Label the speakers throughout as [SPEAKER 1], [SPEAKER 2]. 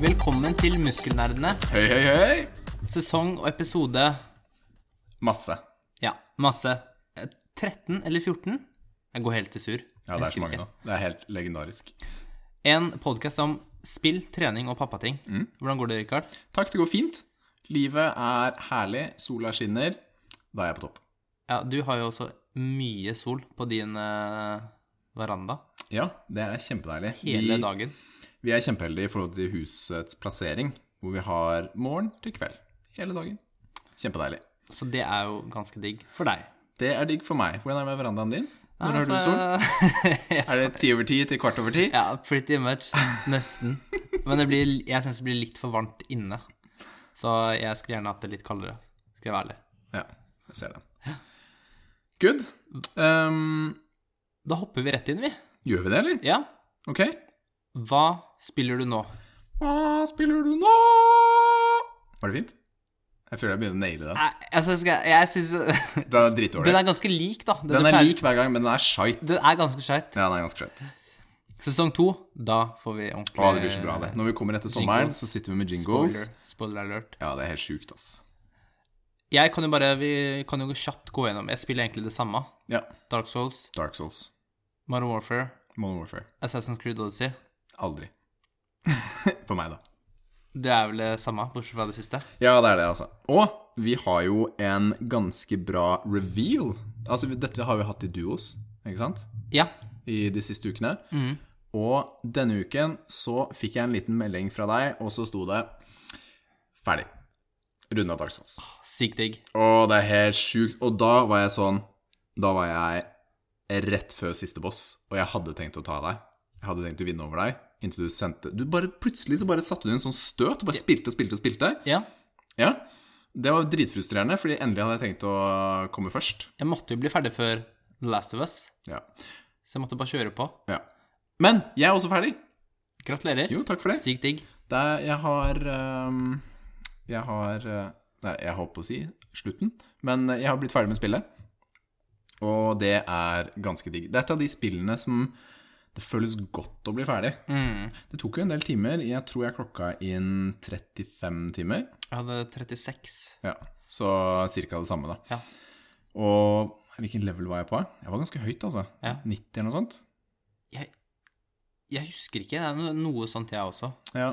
[SPEAKER 1] til Muskelnerdene.
[SPEAKER 2] Høy, høy, høy!
[SPEAKER 1] Sesong og episode
[SPEAKER 2] Masse.
[SPEAKER 1] Ja, masse. Eh, 13 eller 14? Jeg går helt til sur.
[SPEAKER 2] Ja, det er så mange nå. Det er helt legendarisk.
[SPEAKER 1] En podkast om spill, trening og pappating.
[SPEAKER 2] Mm.
[SPEAKER 1] Hvordan går det, Rikard?
[SPEAKER 2] Takk, det går fint. Livet er herlig, sola skinner. Da er jeg på topp.
[SPEAKER 1] Ja, du har jo også mye sol på din eh, veranda
[SPEAKER 2] Ja, det er kjempedeilig.
[SPEAKER 1] hele
[SPEAKER 2] vi,
[SPEAKER 1] dagen.
[SPEAKER 2] vi er kjempeheldige i forhold til husets plassering, hvor vi har morgen til kveld. Hele dagen. Kjempedeilig.
[SPEAKER 1] Så det er jo ganske digg for deg.
[SPEAKER 2] Det er digg for meg. Hvordan er det med verandaen din? Når har du sol?
[SPEAKER 1] sol?
[SPEAKER 2] Er det ti over ti til kvart over ti?
[SPEAKER 1] altså, ja, pretty much. Nesten. Men det blir, jeg syns det blir litt for varmt inne. Så jeg skulle gjerne hatt det litt kaldere. Skal jeg være ærlig.
[SPEAKER 2] Ja, jeg ser den. Good. Ehm,
[SPEAKER 1] Da hopper vi rett inn, vi.
[SPEAKER 2] gjør vi det, eller?
[SPEAKER 1] Ja.
[SPEAKER 2] Ok.
[SPEAKER 1] Hva spiller du nå?
[SPEAKER 2] Hva spiller du nå? Var det fint? Jeg føler jeg begynner å naile den.
[SPEAKER 1] Nei, Altså, skal, jeg synes Den
[SPEAKER 2] Den er drittdårlig.
[SPEAKER 1] er ganske lik, da.
[SPEAKER 2] Den
[SPEAKER 1] du
[SPEAKER 2] er
[SPEAKER 1] pleier-
[SPEAKER 2] lik hver gang, men den er shite.
[SPEAKER 1] Den er ganske skeit.
[SPEAKER 2] Ja, den er ganske shite.
[SPEAKER 1] Sesong to, da får vi ordentlig
[SPEAKER 2] Å, det blir så bra, det. Når vi kommer etter sommeren, så sitter vi med jingles.
[SPEAKER 1] Eh, Spoiler, spoiler alert.
[SPEAKER 2] Ja, det er helt sjukt, ass.
[SPEAKER 1] Jeg kan jo bare Vi kan jo gå kjapt gå gjennom. Jeg spiller egentlig det samme.
[SPEAKER 2] Ja.
[SPEAKER 1] Dark Souls,
[SPEAKER 2] Dark Souls.
[SPEAKER 1] Modern Warfare,
[SPEAKER 2] Modern Warfare.
[SPEAKER 1] Assassin's Creed Odyssey.
[SPEAKER 2] Aldri. For meg, da.
[SPEAKER 1] Det er vel det samme, bortsett fra det siste.
[SPEAKER 2] Ja, det er det, altså. Og vi har jo en ganske bra reveal. Altså, vi- dette har vi hatt i duos, ikke sant?
[SPEAKER 1] Ja.
[SPEAKER 2] I de siste ukene. Og denne uken så fikk jeg en liten melding fra deg, og så sto det Ferdig. Runda Dark Souls.
[SPEAKER 1] Sykt digg.
[SPEAKER 2] Å, det er helt sjukt. Og da var jeg sånn Da var jeg rett før siste boss, og jeg hadde tenkt å ta deg. Jeg hadde tenkt å vinne over deg inntil du sendte Du bare plutselig så bare satte du inn en sånn støt og bare spilte og spilte og spilte.
[SPEAKER 1] Ja.
[SPEAKER 2] Ja. Det var dritfrustrerende, fordi endelig hadde jeg tenkt å komme først.
[SPEAKER 1] Jeg måtte jo bli ferdig før The Last of Us,
[SPEAKER 2] Ja.
[SPEAKER 1] så jeg måtte bare kjøre på.
[SPEAKER 2] ja. Men jeg er også ferdig.
[SPEAKER 1] Gratulerer.
[SPEAKER 2] Jo, takk for det.
[SPEAKER 1] Sykt digg.
[SPEAKER 2] det er, jeg har ehm, Jeg har eh, Nei, jeg holdt på å si slutten, men jeg har blitt ferdig med spillet. Og det er ganske digg. Det er et av de spillene som det føles godt å bli ferdig.
[SPEAKER 1] Mm.
[SPEAKER 2] Det tok jo en del timer. Jeg tror jeg klokka inn 35 timer.
[SPEAKER 1] Jeg hadde 36.
[SPEAKER 2] Ja, Så cirka det samme, da.
[SPEAKER 1] Ja.
[SPEAKER 2] Og hvilken level var jeg på? Jeg var ganske høyt, altså.
[SPEAKER 1] Ja.
[SPEAKER 2] 90 eller noe sånt.
[SPEAKER 1] Jeg, jeg husker ikke. Det er no- noe sånt, jeg også.
[SPEAKER 2] Ja.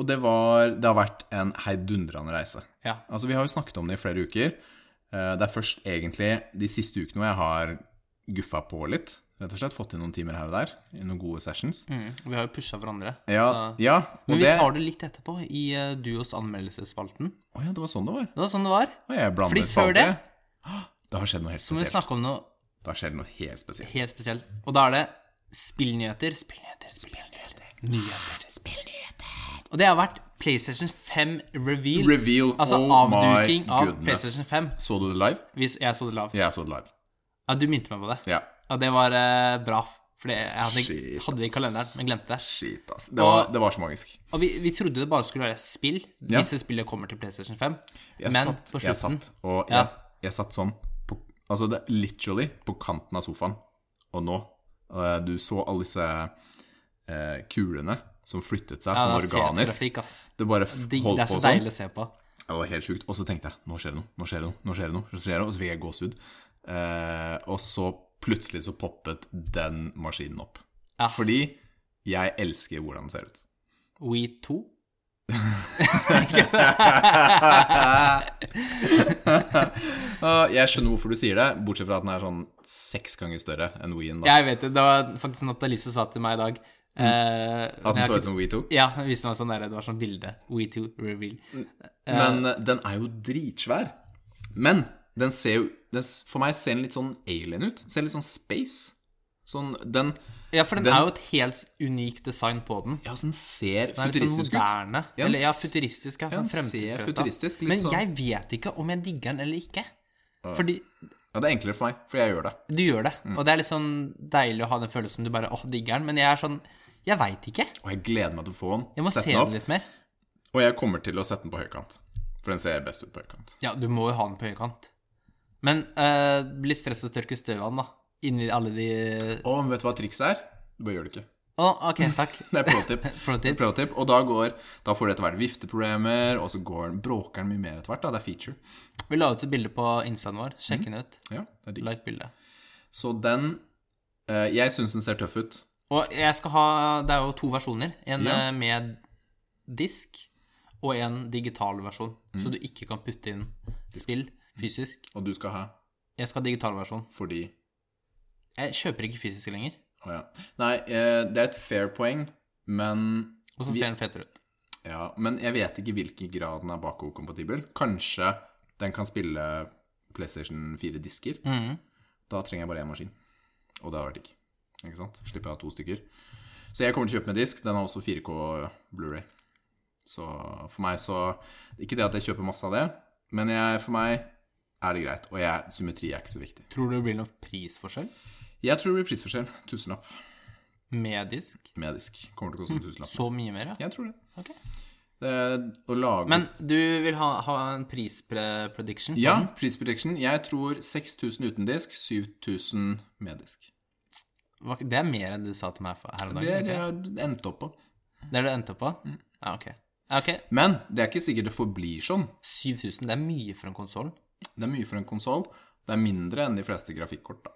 [SPEAKER 2] Og det var Det har vært en heidundrende reise.
[SPEAKER 1] Ja.
[SPEAKER 2] Altså, vi har jo snakket om det i flere uker. Eh, Det er først egentlig de siste ukene hvor jeg har guffa på litt. Rett og slett fått inn noen timer her og der. i Noen gode sessions.
[SPEAKER 1] Mm. Vi har jo pusha hverandre.
[SPEAKER 2] Ja,
[SPEAKER 1] så.
[SPEAKER 2] ja og
[SPEAKER 1] Men vi
[SPEAKER 2] det
[SPEAKER 1] tar det litt etterpå, i eh, Duos anmeldelsesspalten.
[SPEAKER 2] Å ja, det var sånn det var.
[SPEAKER 1] Det var sånn det var.
[SPEAKER 2] Og jeg blandet
[SPEAKER 1] Flitt før det.
[SPEAKER 2] spalte. Det har skjedd noe helt
[SPEAKER 1] Så må vi
[SPEAKER 2] spesielt.
[SPEAKER 1] snakke om noe
[SPEAKER 2] Det har skjedd noe helt spesielt.
[SPEAKER 1] helt spesielt. Og da er det spillnyheter. Spillnyheter, spillnyheter, nyheter. Spillnyheter. Og det har vært PlayStation 5 reveal.
[SPEAKER 2] Reveal.
[SPEAKER 1] Altså
[SPEAKER 2] oh my
[SPEAKER 1] avduking av
[SPEAKER 2] goodness.
[SPEAKER 1] PlayStation 5.
[SPEAKER 2] Så du det live?
[SPEAKER 1] Hvis jeg så det lav.
[SPEAKER 2] Jeg så det live.
[SPEAKER 1] Ja, du minte meg på det.
[SPEAKER 2] Ja.
[SPEAKER 1] Ja, det var eh, bra. For jeg hadde,
[SPEAKER 2] Shit,
[SPEAKER 1] hadde det i kalenderen, men glemte det.
[SPEAKER 2] Shit, ass. Det var, det var så magisk.
[SPEAKER 1] Og vi, vi trodde det bare skulle være spill.
[SPEAKER 2] Ja.
[SPEAKER 1] Disse spillene kommer til PlayStation 5.
[SPEAKER 2] Jeg
[SPEAKER 1] men
[SPEAKER 2] satt,
[SPEAKER 1] på slutten
[SPEAKER 2] Jeg satt, og
[SPEAKER 1] Ja.
[SPEAKER 2] jeg, jeg satt sånn på, Altså, det, literally på kanten av sofaen. Og nå eh, Du så alle disse eh, kulene som flyttet seg
[SPEAKER 1] Ja,
[SPEAKER 2] sånn
[SPEAKER 1] det er fet
[SPEAKER 2] organisk.
[SPEAKER 1] Trafikk, ass.
[SPEAKER 2] Det bare f-
[SPEAKER 1] Det, det
[SPEAKER 2] holdt
[SPEAKER 1] er så
[SPEAKER 2] på sånn.
[SPEAKER 1] deilig å se på.
[SPEAKER 2] Det var helt sjukt. Og så tenkte jeg nå skjer det noe, nå skjer det noe, nå skjer det noe. Så skjer det noe, og så fikk jeg gåsehud. Eh, og så plutselig så poppet den maskinen opp.
[SPEAKER 1] Ja.
[SPEAKER 2] Fordi jeg elsker hvordan den ser ut.
[SPEAKER 1] We 2.
[SPEAKER 2] Eh, jeg skjønner hvorfor du sier det, bortsett fra at den er sånn seks ganger større enn Wien. Da.
[SPEAKER 1] Jeg vet det. Det var faktisk noe Alice sa til meg i dag.
[SPEAKER 2] Mm.
[SPEAKER 1] Eh, men
[SPEAKER 2] At den
[SPEAKER 1] jeg har
[SPEAKER 2] så
[SPEAKER 1] ikke-
[SPEAKER 2] ut som We 2.
[SPEAKER 1] Ja, hun viste meg sånn der, det var sånn bilde. We 2 reveal.
[SPEAKER 2] Men eh, den er jo dritsvær. Men den ser jo den, s- For meg ser den litt sånn alien ut. Ser litt sånn space. Sånn Den
[SPEAKER 1] Ja, for den,
[SPEAKER 2] den-
[SPEAKER 1] er jo et helt unikt design på den.
[SPEAKER 2] Ja, så den ser
[SPEAKER 1] Den er litt sånn
[SPEAKER 2] futuristisk ut.
[SPEAKER 1] moderne.
[SPEAKER 2] Ja, den
[SPEAKER 1] eller ja,
[SPEAKER 2] s-
[SPEAKER 1] futuristisk. Ja,
[SPEAKER 2] den
[SPEAKER 1] sånn
[SPEAKER 2] ser
[SPEAKER 1] fremtidsretta.
[SPEAKER 2] futuristisk, litt
[SPEAKER 1] Men
[SPEAKER 2] sånn-
[SPEAKER 1] jeg vet ikke om jeg digger den eller ikke. Fordi
[SPEAKER 2] Ja, Mm. det er enklere for meg, for jeg gjør det.
[SPEAKER 1] du gjør det. Og det er litt sånn deilig å ha den følelsen du bare åh, digger den. Men jeg er sånn Jeg veit ikke.
[SPEAKER 2] Og jeg gleder meg til å få den.
[SPEAKER 1] Jeg må
[SPEAKER 2] sette
[SPEAKER 1] se
[SPEAKER 2] den opp.
[SPEAKER 1] den litt mer.
[SPEAKER 2] Og jeg kommer til å sette den på høykant. For den ser best ut på høykant.
[SPEAKER 1] Ja, du må jo ha den på høykant. Men eh, bli stress og tørke støv av den, da. Inni alle de
[SPEAKER 2] Å, men vet du hva trikset er? Du bare gjør det ikke.
[SPEAKER 1] Å, ok, takk.
[SPEAKER 2] Det er pro tip.
[SPEAKER 1] Pro tip.
[SPEAKER 2] Pro tip. Og da, går, da får du etter hvert vifteproblemer, og så går, bråker den mye mer etter hvert. Da. Det er feature.
[SPEAKER 1] Vi la ut et bilde på instaen vår. Sjekk den ut.
[SPEAKER 2] Ja, det er digg.
[SPEAKER 1] Like bildet.
[SPEAKER 2] Så den eh, Jeg syns den ser tøff ut.
[SPEAKER 1] Og jeg skal ha Det er jo to versjoner. En
[SPEAKER 2] Ja.
[SPEAKER 1] eh, med disk og en digital versjon.
[SPEAKER 2] Mhm.
[SPEAKER 1] Så du ikke kan putte inn spill fysisk.
[SPEAKER 2] Og du skal ha
[SPEAKER 1] Jeg skal ha digital versjon.
[SPEAKER 2] fordi
[SPEAKER 1] Jeg kjøper ikke fysiske lenger.
[SPEAKER 2] Å ja. Nei, eh, det er et fair poeng, men
[SPEAKER 1] Og så
[SPEAKER 2] Vi-
[SPEAKER 1] ser den fetere ut.
[SPEAKER 2] ja, Men jeg vet ikke hvilken grad den er Baco-kompatibel. Kanskje den kan spille PlayStation 4-disker.
[SPEAKER 1] Mhm.
[SPEAKER 2] Da trenger jeg bare én maskin. Og det har vært digg. Ikke sant? Slipper jeg å ha to stykker. Så jeg kommer til å kjøpe med disk. Den har også 4K Blu-ray. Så for meg så Ikke det at jeg kjøper masse av det, men jeg, for meg er det greit. Og jeg, symmetri er ikke så viktig.
[SPEAKER 1] Tror du det blir noen prisforskjell
[SPEAKER 2] Jeg tror det blir prisforskjell. Tusenlapp
[SPEAKER 1] med disk?
[SPEAKER 2] med disk. Kommer til å koste en tusenlapp.
[SPEAKER 1] Så mye mer, ja.
[SPEAKER 2] Jeg tror det.
[SPEAKER 1] Ok.
[SPEAKER 2] det å lage
[SPEAKER 1] Men du vil ha, ha en prisprediction?
[SPEAKER 2] Ja, prisprotection. Jeg tror 6000 uten disk, 7000 med disk.
[SPEAKER 1] Det er mer enn du sa til meg for- her om
[SPEAKER 2] Det er
[SPEAKER 1] dagen?
[SPEAKER 2] det Mm.
[SPEAKER 1] ikke?
[SPEAKER 2] jeg endte opp på.
[SPEAKER 1] Det er det du endte på? Ja, ok. Ja, ok.
[SPEAKER 2] Men det er ikke sikkert det forblir sånn.
[SPEAKER 1] 7000, det er mye for en konsoll.
[SPEAKER 2] Det er mye for en konsoll. Det er mindre enn de fleste grafikkort. da.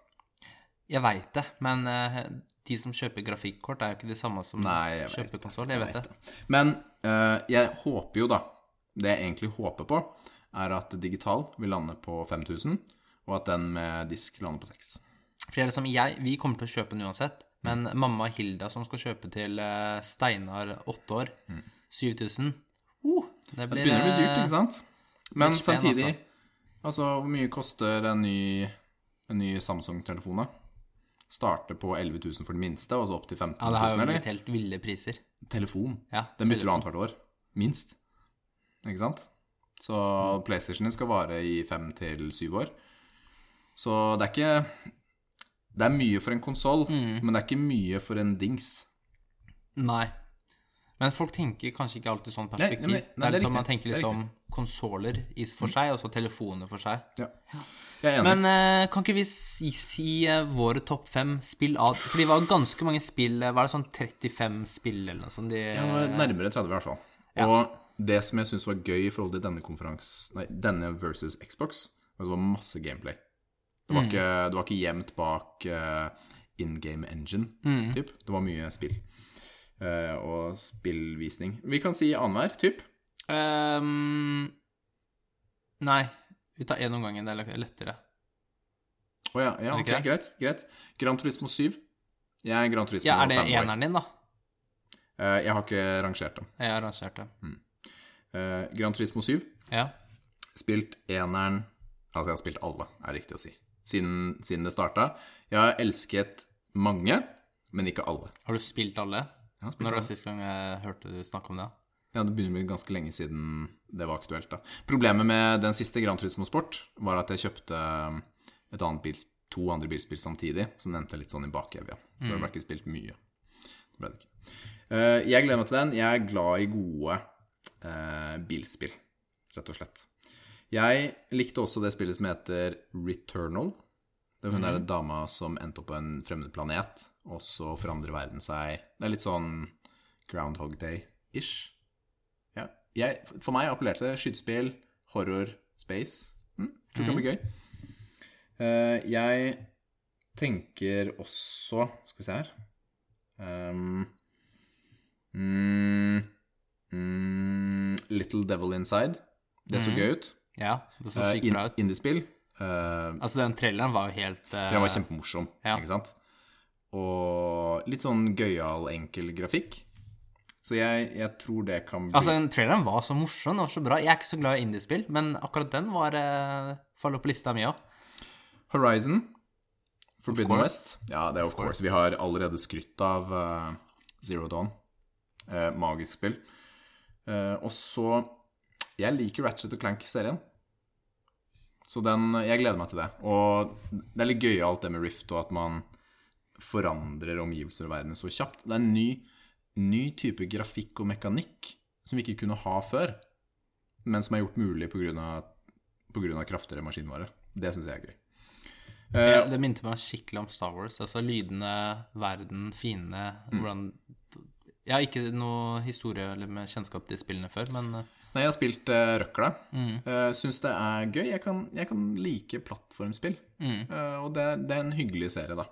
[SPEAKER 1] Jeg veit det, men eh, de som kjøper grafikkort, er jo ikke de samme som
[SPEAKER 2] Nei, jeg vet
[SPEAKER 1] kjøper konsoll. Jeg vet det.
[SPEAKER 2] Men eh, jeg håper jo, da Det jeg egentlig håper på, er at digital vil lande på 5000, og at den med disk lander på 6.
[SPEAKER 1] For jeg, er liksom, jeg, vi kommer til å kjøpe den uansett, men
[SPEAKER 2] Mm.
[SPEAKER 1] mamma Hilda som skal kjøpe til eh, Steinar, åtte år, 7000 uh, Det
[SPEAKER 2] Mm. Det
[SPEAKER 1] blir
[SPEAKER 2] begynner å bli dyrt,
[SPEAKER 1] eh,
[SPEAKER 2] ikke sant? Men
[SPEAKER 1] blir spen,
[SPEAKER 2] samtidig Altså, hvor mye koster en ny, en ny Samsung-telefon, da? Starter på 11 000 for det minste, og så opp til 15
[SPEAKER 1] Ja, det har
[SPEAKER 2] 000,
[SPEAKER 1] jo
[SPEAKER 2] eller?
[SPEAKER 1] blitt helt ville priser.
[SPEAKER 2] Telefon.
[SPEAKER 1] Ja,
[SPEAKER 2] Den bytter du annethvert år. Minst. Ikke sant? Så PlayStation skal vare i fem til syv år. Så det er ikke Det er mye for en konsoll, men det er ikke mye for en dings.
[SPEAKER 1] Nei. Men folk tenker kanskje ikke alltid sånn
[SPEAKER 2] nei,
[SPEAKER 1] perspektiv.
[SPEAKER 2] men-
[SPEAKER 1] det
[SPEAKER 2] nei, det
[SPEAKER 1] er
[SPEAKER 2] er
[SPEAKER 1] liksom, Man
[SPEAKER 2] riktig,
[SPEAKER 1] tenker
[SPEAKER 2] det er
[SPEAKER 1] liksom konsoller for seg, og så telefoner for seg.
[SPEAKER 2] Ja. Jeg er enig.
[SPEAKER 1] Men eh, kan ikke vi si, si eh, vår topp fem spill av Fordi det var ganske mange spill. eh, Var det sånn 35 spill eller noe sånt? De,
[SPEAKER 2] Det var nærmere 30, i hvert fall. Og det som jeg syns var gøy i forhold til denne konferans... Nei, denne versus Xbox, var at det var masse gameplay. Det
[SPEAKER 1] Mm.
[SPEAKER 2] var, ikke, det var ikke gjemt bak in game engine,
[SPEAKER 1] Mm.
[SPEAKER 2] typ. Det var mye spill. Eh, og spillvisning. Vi kan si annenhver, typ.
[SPEAKER 1] Ehm, nei. Vi tar én om gangen. Det er le- lettere.
[SPEAKER 2] Å ja, ja
[SPEAKER 1] Er det
[SPEAKER 2] ok,
[SPEAKER 1] ikke det?
[SPEAKER 2] greit. greit. Gran Turismo 7. Jeg er Gran Turismo
[SPEAKER 1] Ja, Er det
[SPEAKER 2] fanboy.
[SPEAKER 1] eneren din, da?
[SPEAKER 2] Eh, jeg har ikke rangert dem.
[SPEAKER 1] Jeg arrangerte.
[SPEAKER 2] Mm. Eh, Gran Turismo 7.
[SPEAKER 1] Ja.
[SPEAKER 2] Spilt eneren Altså, jeg har spilt alle, er riktig å si. Siden, siden det starta. Jeg har elsket mange, men ikke alle.
[SPEAKER 1] Har du spilt alle?
[SPEAKER 2] Jeg har spilt
[SPEAKER 1] Når var
[SPEAKER 2] alle.
[SPEAKER 1] sist gang jeg hørte du snakke om det?
[SPEAKER 2] Ja, det begynner å bli ganske lenge siden det var aktuelt, da. Problemet med den siste Gran Turismo Sport var at jeg kjøpte um, et annet bil, to andre bilspill samtidig, så den endte litt sånn i bakevja. Så det ble ikke spilt mye. Det ble det ikke. Eh, jeg gleder meg til den. Jeg er glad i gode eh, bilspill, rett og slett. Jeg likte også det spillet som heter Returnal. Det er hun derre dama som endte opp på en fremmed planet, og så forandrer verden seg. Det er litt sånn Groundhog Day-ish. Ja. Jeg, for meg appellerte det skytespill, horror, space. Mm, tror det kan bli gøy. Eh, jeg tenker også Skal vi se her um, mm, mm, Little Devil Inside. Det så gøy ut.
[SPEAKER 1] Ja, Mm. det så
[SPEAKER 2] Uh,
[SPEAKER 1] sykt bra ut.
[SPEAKER 2] Indiespill. Uh,
[SPEAKER 1] Altså, den traileren var jo helt eh,
[SPEAKER 2] for den var kjempemorsom,
[SPEAKER 1] ja.
[SPEAKER 2] ikke sant? Og litt sånn gøyal, enkel grafikk. Så jeg, jeg tror det kan bli
[SPEAKER 1] Altså, den traileren var så morsom, den var så bra. Jeg er ikke så glad i indiespill, men akkurat den var eh, faller på lista mi òg.
[SPEAKER 2] Horizon. Forbidden
[SPEAKER 1] course.
[SPEAKER 2] West. Ja, det er of course. Vi har allerede skrytt av eh, Zero Dawn. Eh, magisk spill. Eh, og så Jeg liker Ratchet og Clank-serien. Så den Jeg gleder meg til det. Og det er litt gøyalt det med Rift, og at man forandrer omgivelser og verden så kjapt. Det er en ny, ny type grafikk og mekanikk som vi ikke kunne ha før, men som er gjort mulig pga. kraftigere maskinvare. Det syns jeg er gøy.
[SPEAKER 1] Ja, det minte meg skikkelig om Star Wars. Altså lydene, verden, fiendene
[SPEAKER 2] Mm.
[SPEAKER 1] hvordan Jeg har ikke noe historie eller med kjennskap til spillene før, men eh,
[SPEAKER 2] Nei, jeg har spilt eh, Røkla.
[SPEAKER 1] Mm.
[SPEAKER 2] Eh, Syns det er gøy. Jeg kan, jeg kan like plattformspill.
[SPEAKER 1] Mm.
[SPEAKER 2] Eh, og det, det er en hyggelig serie, da.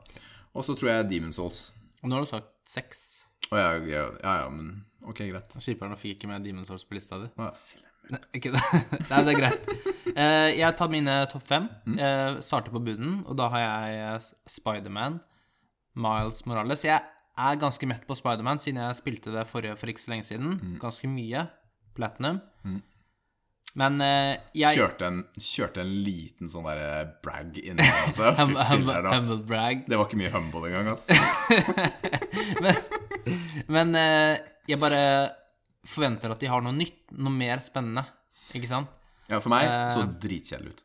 [SPEAKER 2] Og så tror jeg Demon's Souls.
[SPEAKER 1] nå har du sagt seks.
[SPEAKER 2] Å ja, ja, ja, ja, men ok, greit. Ah,
[SPEAKER 1] Skiperen fikk ikke med Demon's Souls på lista di.
[SPEAKER 2] Å, ja, film.
[SPEAKER 1] Nei, ikke det. Nei, det er greit. Eh, jeg tar mine topp fem.
[SPEAKER 2] Mm.
[SPEAKER 1] Eh, starter på bunnen, og da har jeg eh, Spiderman, Miles Morales. Jeg er ganske mett på Spiderman siden jeg spilte det forrige for ikke så lenge siden.
[SPEAKER 2] Mm.
[SPEAKER 1] Ganske mye. Platinum. Men eh, jeg
[SPEAKER 2] Kjørte, en, kjørte en liten sånn derre brag inni altså. Fy
[SPEAKER 1] hum, hum,
[SPEAKER 2] filler'n, ass.
[SPEAKER 1] Humble brag.
[SPEAKER 2] Det var ikke mye humble engang, ass.
[SPEAKER 1] Men eh, jeg bare forventer at de har noe nytt, noe mer spennende. Ikke sant?
[SPEAKER 2] Ja, for meg så
[SPEAKER 1] Eh.
[SPEAKER 2] dritkjedelig ut.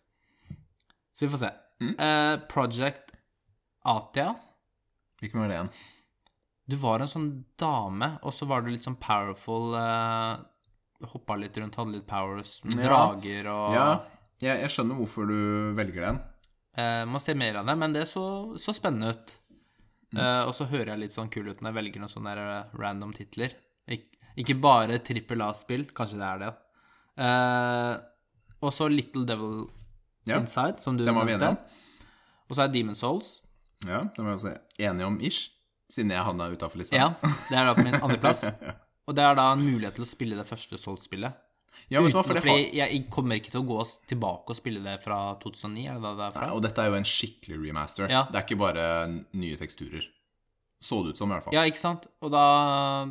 [SPEAKER 1] Så vi får se.
[SPEAKER 2] Mm.
[SPEAKER 1] Eh, Project Atia.
[SPEAKER 2] Hvilken var det igjen?
[SPEAKER 1] Du var en sånn dame, og så var du litt sånn powerful. eh, hoppa litt rundt, hadde litt powers. Drager og
[SPEAKER 2] Ja, jeg, jeg skjønner hvorfor du velger den.
[SPEAKER 1] eh, Må se mer av det, men det så, så spennende ut.
[SPEAKER 2] Mm.
[SPEAKER 1] Eh, og så hører jeg litt sånn kul ut når jeg velger noen sånne der, eh, random titler. Ik ikke bare trippel A-spill, kanskje det er det. Eh, og så Little Devil
[SPEAKER 2] Ja,
[SPEAKER 1] Inside, som du
[SPEAKER 2] Den var vi enige om.
[SPEAKER 1] Og så er Demon Souls.
[SPEAKER 2] ja det var jeg også enig om ish, siden jeg havna utafor lista.
[SPEAKER 1] Ja, det er da på min andreplass. Og det er da en mulighet til å spille det første Souls-spillet.
[SPEAKER 2] Ja, vet du hva, for
[SPEAKER 1] Fordi
[SPEAKER 2] det har...
[SPEAKER 1] jeg kommer ikke til å gå s- tilbake og spille det fra 2009, er det da det er fra?
[SPEAKER 2] Og dette er jo en skikkelig remaster.
[SPEAKER 1] Ja.
[SPEAKER 2] Det er ikke bare nye teksturer. Så det ut som, i hvert fall.
[SPEAKER 1] Ja, ikke sant? Og da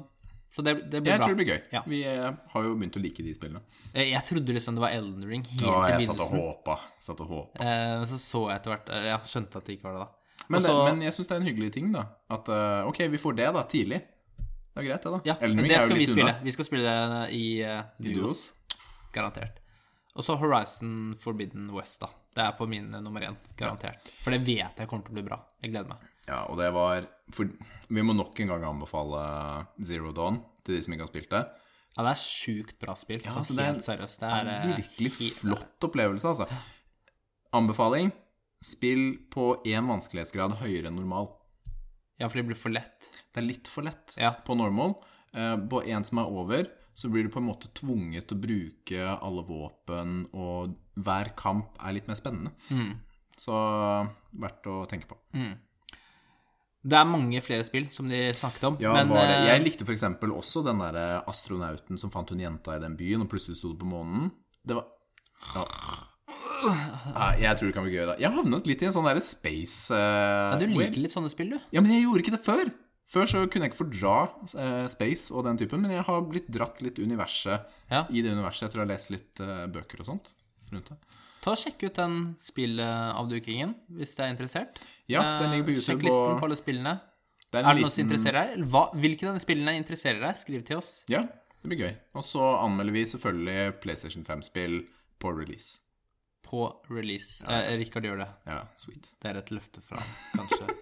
[SPEAKER 1] Så det, det blir
[SPEAKER 2] jeg
[SPEAKER 1] bra.
[SPEAKER 2] tror det blir gøy.
[SPEAKER 1] Ja.
[SPEAKER 2] Vi eh, har jo begynt å like de spillene.
[SPEAKER 1] Jeg, jeg trodde liksom det var Elden Ring helt
[SPEAKER 2] Ja,
[SPEAKER 1] i
[SPEAKER 2] jeg satt og
[SPEAKER 1] begynnelsen.
[SPEAKER 2] håpa. Satt og håpa.
[SPEAKER 1] Eh, så så jeg etter hvert eh, Jeg skjønte at det ikke var det, da.
[SPEAKER 2] Men,
[SPEAKER 1] Og så-
[SPEAKER 2] det, men jeg syns det er en hyggelig ting, da. At eh, OK, vi får det, da. Tidlig. Det er greit, det, da.
[SPEAKER 1] Ja,
[SPEAKER 2] Elden Ring
[SPEAKER 1] det
[SPEAKER 2] er jo
[SPEAKER 1] skal vi
[SPEAKER 2] litt
[SPEAKER 1] spille.
[SPEAKER 2] unna.
[SPEAKER 1] Vi skal spille det i eh, duos.
[SPEAKER 2] Duos.
[SPEAKER 1] Garantert. Og så Horizon Forbidden West, da. Det er på min eh, nummer én. Garantert. For det vet jeg kommer til å bli bra. Jeg gleder meg.
[SPEAKER 2] Ja, og det var for, Vi må nok en gang anbefale eh, Zero Dawn til de som ikke har spilt det.
[SPEAKER 1] Ja, det er sjukt bra spill. sånn
[SPEAKER 2] altså, det er-
[SPEAKER 1] helt seriøst. Det
[SPEAKER 2] Det
[SPEAKER 1] er,
[SPEAKER 2] er
[SPEAKER 1] eh,
[SPEAKER 2] en virkelig
[SPEAKER 1] helt-
[SPEAKER 2] flott opplevelse, altså. Anbefaling spill på én vanskelighetsgrad høyere enn normal.
[SPEAKER 1] Ja, for det blir for lett.
[SPEAKER 2] Det er litt for lett
[SPEAKER 1] Ja.
[SPEAKER 2] på normal. Eh, På en som er over, så blir du på en måte tvunget til å bruke alle våpen, og hver kamp er litt mer spennende.
[SPEAKER 1] Mm.
[SPEAKER 2] Så verdt å tenke på.
[SPEAKER 1] Det er mange flere spill som de snakket om,
[SPEAKER 2] Ja,
[SPEAKER 1] men
[SPEAKER 2] var det.
[SPEAKER 1] eh,
[SPEAKER 2] Jeg likte f.eks. også den derre astronauten som fant hun jenta i den byen, og plutselig sto det på månen. Det var ja. Nei, jeg tror det kan bli gøy, da. Jeg havnet litt i en sånn derre space eh,
[SPEAKER 1] ja, du
[SPEAKER 2] weird.
[SPEAKER 1] liker litt sånne spill, du.
[SPEAKER 2] Ja, men jeg gjorde ikke det før. Før så kunne jeg ikke fordra eh, space og den typen, men jeg har blitt dratt litt universet
[SPEAKER 1] Ja.
[SPEAKER 2] i det universet. Jeg tror jeg har lest litt eh, bøker og sånt rundt det.
[SPEAKER 1] Ta og Sjekk ut den spillavdukingen hvis det er interessert.
[SPEAKER 2] Ja, den ligger på
[SPEAKER 1] Eh, Sjekk
[SPEAKER 2] YouTube.
[SPEAKER 1] listen
[SPEAKER 2] og-
[SPEAKER 1] på alle spillene.
[SPEAKER 2] det
[SPEAKER 1] Er det
[SPEAKER 2] en
[SPEAKER 1] noe
[SPEAKER 2] liten-
[SPEAKER 1] som interesserer deg? Eller Hva, hvilke av denne spillene interesserer deg? Skriv til oss.
[SPEAKER 2] Ja, det blir gøy. Og så anmelder vi selvfølgelig PlayStation 5-spill på release.
[SPEAKER 1] På release. Eh, Rikard gjør det.
[SPEAKER 2] Ja, sweet.
[SPEAKER 1] Det er et løfte fra han, kanskje.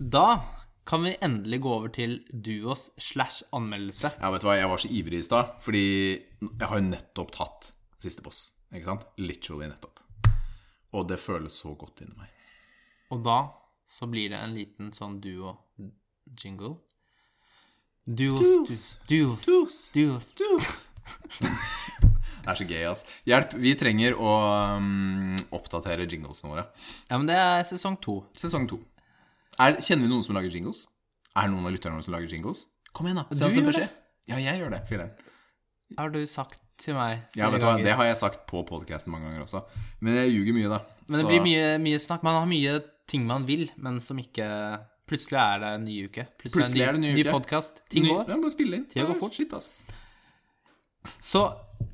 [SPEAKER 1] da kan vi endelig gå over til duos slash anmeldelse.
[SPEAKER 2] Ja, vet du hva, jeg var så ivrig i stad, fordi jeg har jo nettopp tatt siste boss. Ikke sant? Literally nettopp. Og det føles så godt inni meg.
[SPEAKER 1] Og da så blir det en liten sånn duo-jingle. Duos,
[SPEAKER 2] Duos.
[SPEAKER 1] duos, duos,
[SPEAKER 2] Duos.
[SPEAKER 1] duos.
[SPEAKER 2] Det er så gøy, ass. Hjelp, vi trenger å um, oppdatere jinglesene våre.
[SPEAKER 1] Ja, men det er sesong to.
[SPEAKER 2] Sesong to. Er, kjenner vi noen som lager jingles? Er det noen av lytterne våre som lager jingles? Kom igjen, da.
[SPEAKER 1] Du
[SPEAKER 2] Send oss en
[SPEAKER 1] gjør
[SPEAKER 2] beskjed. Ja, jeg gjør det. Filler'n.
[SPEAKER 1] Har du sagt til meg
[SPEAKER 2] Ja,
[SPEAKER 1] flere
[SPEAKER 2] vet du hva,
[SPEAKER 1] ganger.
[SPEAKER 2] det har jeg sagt på podcasten mange ganger også. Men jeg ljuger mye, da.
[SPEAKER 1] Men det
[SPEAKER 2] Så-
[SPEAKER 1] blir mye, mye snakk. Man har mye ting man vil, men som ikke Plutselig er det en ny uke. Plutselig,
[SPEAKER 2] Plutselig er det
[SPEAKER 1] ny,
[SPEAKER 2] ny uke.
[SPEAKER 1] Ny podkast. Ting
[SPEAKER 2] Ny-
[SPEAKER 1] går.
[SPEAKER 2] Ja, bare spille inn.
[SPEAKER 1] Tida går
[SPEAKER 2] Ja,
[SPEAKER 1] fort.
[SPEAKER 2] Shit, ass.
[SPEAKER 1] Så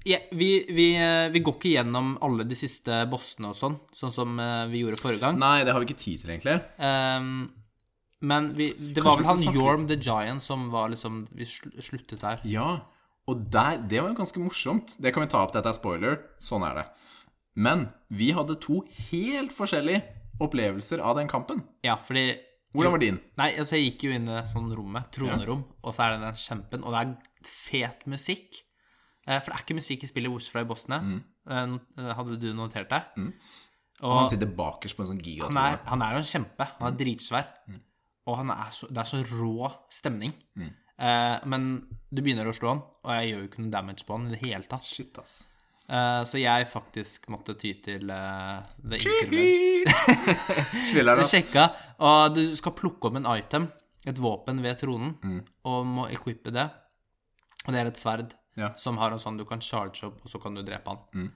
[SPEAKER 1] ja, vi, vi, eh, vi går ikke gjennom alle de siste bossene og sånn, sånn som eh, vi gjorde forrige gang.
[SPEAKER 2] Nei, det har vi ikke tid til, egentlig.
[SPEAKER 1] Ehm, men vi, det var vel
[SPEAKER 2] vi skal
[SPEAKER 1] han
[SPEAKER 2] snakke litt-
[SPEAKER 1] Yorm the Giant som var liksom Vi sl- sluttet der.
[SPEAKER 2] Ja, og der, det var jo ganske morsomt. Det kan vi ta opp, dette er spoiler. Sånn er det. Men vi hadde to helt forskjellige opplevelser av den kampen.
[SPEAKER 1] Ja, fordi
[SPEAKER 2] Hvordan var din?
[SPEAKER 1] Nei, altså jeg gikk jo inn i det sånn rommet, tronerom, og så er det den kjempen, og det er fet musikk. Eh, For det er ikke musikk i spillet Woods fra i
[SPEAKER 2] Mm.
[SPEAKER 1] Bosnia. Eh, Hadde du notert deg?
[SPEAKER 2] Og Mm. han sitter Mm. bakerst på en
[SPEAKER 1] Han
[SPEAKER 2] sånn
[SPEAKER 1] er,
[SPEAKER 2] gigatrone.
[SPEAKER 1] han er jo en kjempe. Han er dritsvær. Og han er så, det er så rå stemning.
[SPEAKER 2] Mm.
[SPEAKER 1] Eh, men du begynner å slå han, og jeg gjør jo ikke noe damage på han i det hele tatt.
[SPEAKER 2] Shit, ass.
[SPEAKER 1] Eh, så jeg faktisk måtte ty til eh, The Intervents.
[SPEAKER 2] Spiller
[SPEAKER 1] Jeg
[SPEAKER 2] han, ass.
[SPEAKER 1] sjekka, og du skal plukke opp en item, et våpen ved tronen, og må equippe det. Og det er et sverd
[SPEAKER 2] Ja.
[SPEAKER 1] som har en sånn du kan charge opp, og så kan du drepe han.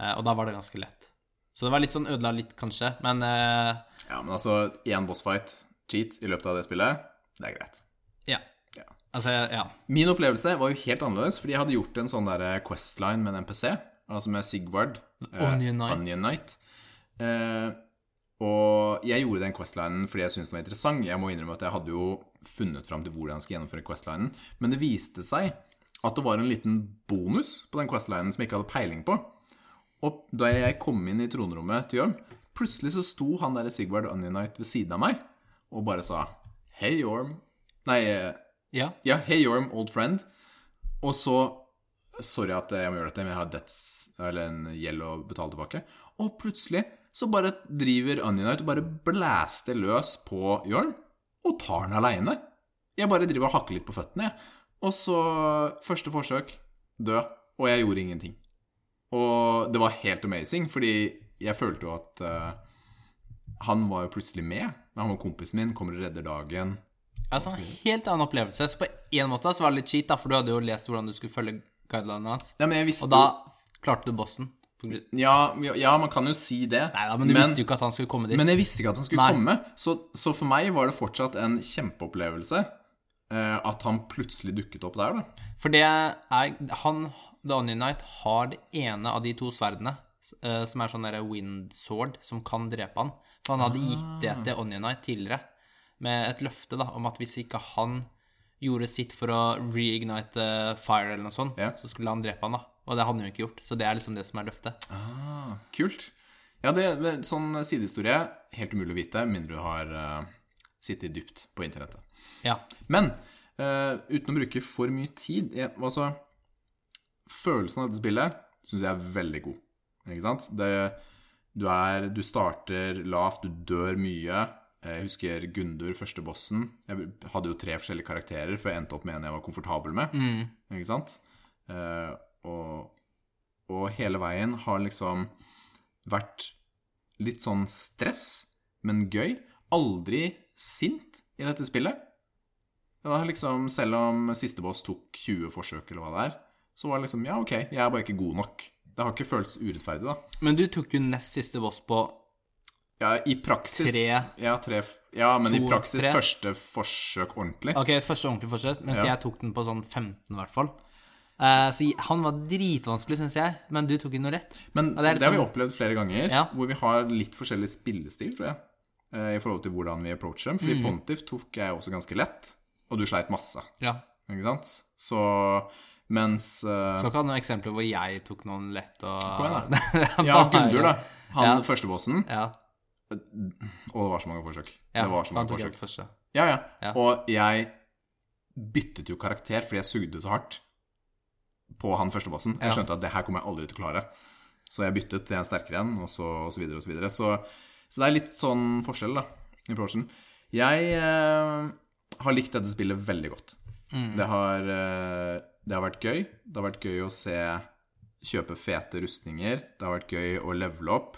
[SPEAKER 1] Eh, og da var det ganske lett. Så det var litt sånn ødela litt, kanskje, men eh,
[SPEAKER 2] Ja, men altså, én bossfight cheat i løpet av det spillet, det er greit.
[SPEAKER 1] ja.
[SPEAKER 2] Ja.
[SPEAKER 1] Altså, ja.
[SPEAKER 2] Min opplevelse var jo helt annerledes, fordi jeg hadde gjort en sånn der questline med en NPC, altså med Sigvard. eh,
[SPEAKER 1] Onion Knight.
[SPEAKER 2] Onion Knight. Eh, og jeg gjorde den questlinen fordi jeg syntes den var interessant. Jeg må innrømme at jeg hadde jo funnet fram til hvordan jeg skulle gjennomføre questlinen, men det viste seg at det var en liten bonus på den questlinen som jeg ikke hadde peiling på. Og da jeg kom inn i tronrommet til Jørn, plutselig så sto han der Sigvard Onion Knight ved siden av meg og bare sa Hei, Orm. Nei, eh,
[SPEAKER 1] ja.
[SPEAKER 2] ja, hey Yorm, old friend. Og så Sorry at jeg må gjøre dette, men jeg har debts, eller en gjeld å betale tilbake. Og plutselig så bare driver Unionite og bare blæster løs på Yorm, og tar den aleine. Jeg bare driver og hakker litt på føttene, jeg. Og så Første forsøk, dø. Og jeg gjorde ingenting. Og det var helt amazing, fordi jeg følte jo at eh, han var jo plutselig med. Han var kompisen min, kommer og redder dagen.
[SPEAKER 1] Altså, en helt annen opplevelse. Så på en måte så var det litt cheat, da, for du hadde jo lest hvordan du skulle følge guidelinene hans.
[SPEAKER 2] Ja, men jeg visste
[SPEAKER 1] Og da klarte du bossen. Nei
[SPEAKER 2] Ja, ja, ja, man kan jo si det.
[SPEAKER 1] da, men du visste jo ikke at han skulle komme dit.
[SPEAKER 2] men jeg visste ikke at han skulle
[SPEAKER 1] Nei.
[SPEAKER 2] komme. Så, så for meg var det fortsatt en kjempeopplevelse eh, at han plutselig dukket opp der, da.
[SPEAKER 1] For det er Han, The Onion Knight, har det ene av de to sverdene, s- eh, som er sånn derre wind sword, som kan drepe han. For han hadde gitt
[SPEAKER 2] Ah.
[SPEAKER 1] det til Onion Knight tidligere, med et løfte da, om at hvis ikke han gjorde sitt for å reignite eh, fire eller noe sånt,
[SPEAKER 2] Ja.
[SPEAKER 1] så skulle han drepe han, da. Og det hadde han jo ikke gjort, så det er liksom det som er
[SPEAKER 2] Ah.
[SPEAKER 1] løftet.
[SPEAKER 2] Kult. Ja, det men sånn sidehistorie helt umulig å vite, mindre du har eh, sittet dypt på internettet.
[SPEAKER 1] Ja.
[SPEAKER 2] Men eh, uten å bruke for mye tid jeg, Altså, følelsen av dette spillet syns jeg er veldig god. Ikke sant? Det, du, er, du starter lavt, du dør mye. Jeg husker Gundur, første bossen. Jeg hadde jo tre forskjellige karakterer før jeg endte opp med en jeg var komfortabel med.
[SPEAKER 1] Mm.
[SPEAKER 2] Ikke sant? Eh, og, og hele veien har liksom vært litt sånn stress, men gøy. Aldri sint i dette spillet. Ja, det er liksom, selv om siste boss tok 20 forsøk, eller hva det er, så var det liksom Ja, ok, jeg er bare ikke god nok. Det har ikke føltes urettferdig, da.
[SPEAKER 1] Men du tok jo nest siste boss på
[SPEAKER 2] Ja, I praksis
[SPEAKER 1] Tre.
[SPEAKER 2] Ja, tre, f- ja men i
[SPEAKER 1] To,
[SPEAKER 2] praksis
[SPEAKER 1] tre.
[SPEAKER 2] første forsøk ordentlig.
[SPEAKER 1] Ok, første ordentlig forsøk, mens
[SPEAKER 2] Ja.
[SPEAKER 1] jeg tok den på sånn 15 i hvert fall. Eh, så han var dritvanskelig, syns jeg, men du tok jo noe rett.
[SPEAKER 2] Men
[SPEAKER 1] Ja,
[SPEAKER 2] så
[SPEAKER 1] det er
[SPEAKER 2] det,
[SPEAKER 1] litt
[SPEAKER 2] har vi
[SPEAKER 1] sånn-
[SPEAKER 2] opplevd flere ganger,
[SPEAKER 1] Ja.
[SPEAKER 2] hvor vi har litt forskjellig spillestil, tror jeg, eh, i forhold til hvordan vi approacher dem. Fordi
[SPEAKER 1] Mm.
[SPEAKER 2] Pontiff tok jeg også ganske lett, og du sleit masse,
[SPEAKER 1] Ja.
[SPEAKER 2] ikke sant? Så mens eh,
[SPEAKER 1] Skal ikke ha noen eksempler hvor jeg tok noen lett og
[SPEAKER 2] Kom igjen, da.
[SPEAKER 1] Det er
[SPEAKER 2] Ja,
[SPEAKER 1] bare-
[SPEAKER 2] Gundur, da. Han
[SPEAKER 1] Ja.
[SPEAKER 2] førstebossen.
[SPEAKER 1] Ja.
[SPEAKER 2] Og det var så mange forsøk.
[SPEAKER 1] ja.
[SPEAKER 2] det var så
[SPEAKER 1] han
[SPEAKER 2] mange
[SPEAKER 1] tok
[SPEAKER 2] forsøk.
[SPEAKER 1] helt Første.
[SPEAKER 2] Ja, ja,
[SPEAKER 1] Ja.
[SPEAKER 2] Og jeg byttet jo karakter fordi jeg sugde så hardt på han førstebossen. Jeg
[SPEAKER 1] Ja.
[SPEAKER 2] skjønte at det her kommer jeg aldri til å klare. Så jeg byttet til en sterkere en, og så og så videre og så videre. Så, så det er litt sånn forskjell, da, i approachen. Jeg eh, har likt dette spillet veldig godt. Det, har, eh, det har vært gøy. Det har vært gøy å se kjøpe fete rustninger. Det har vært gøy å levele opp.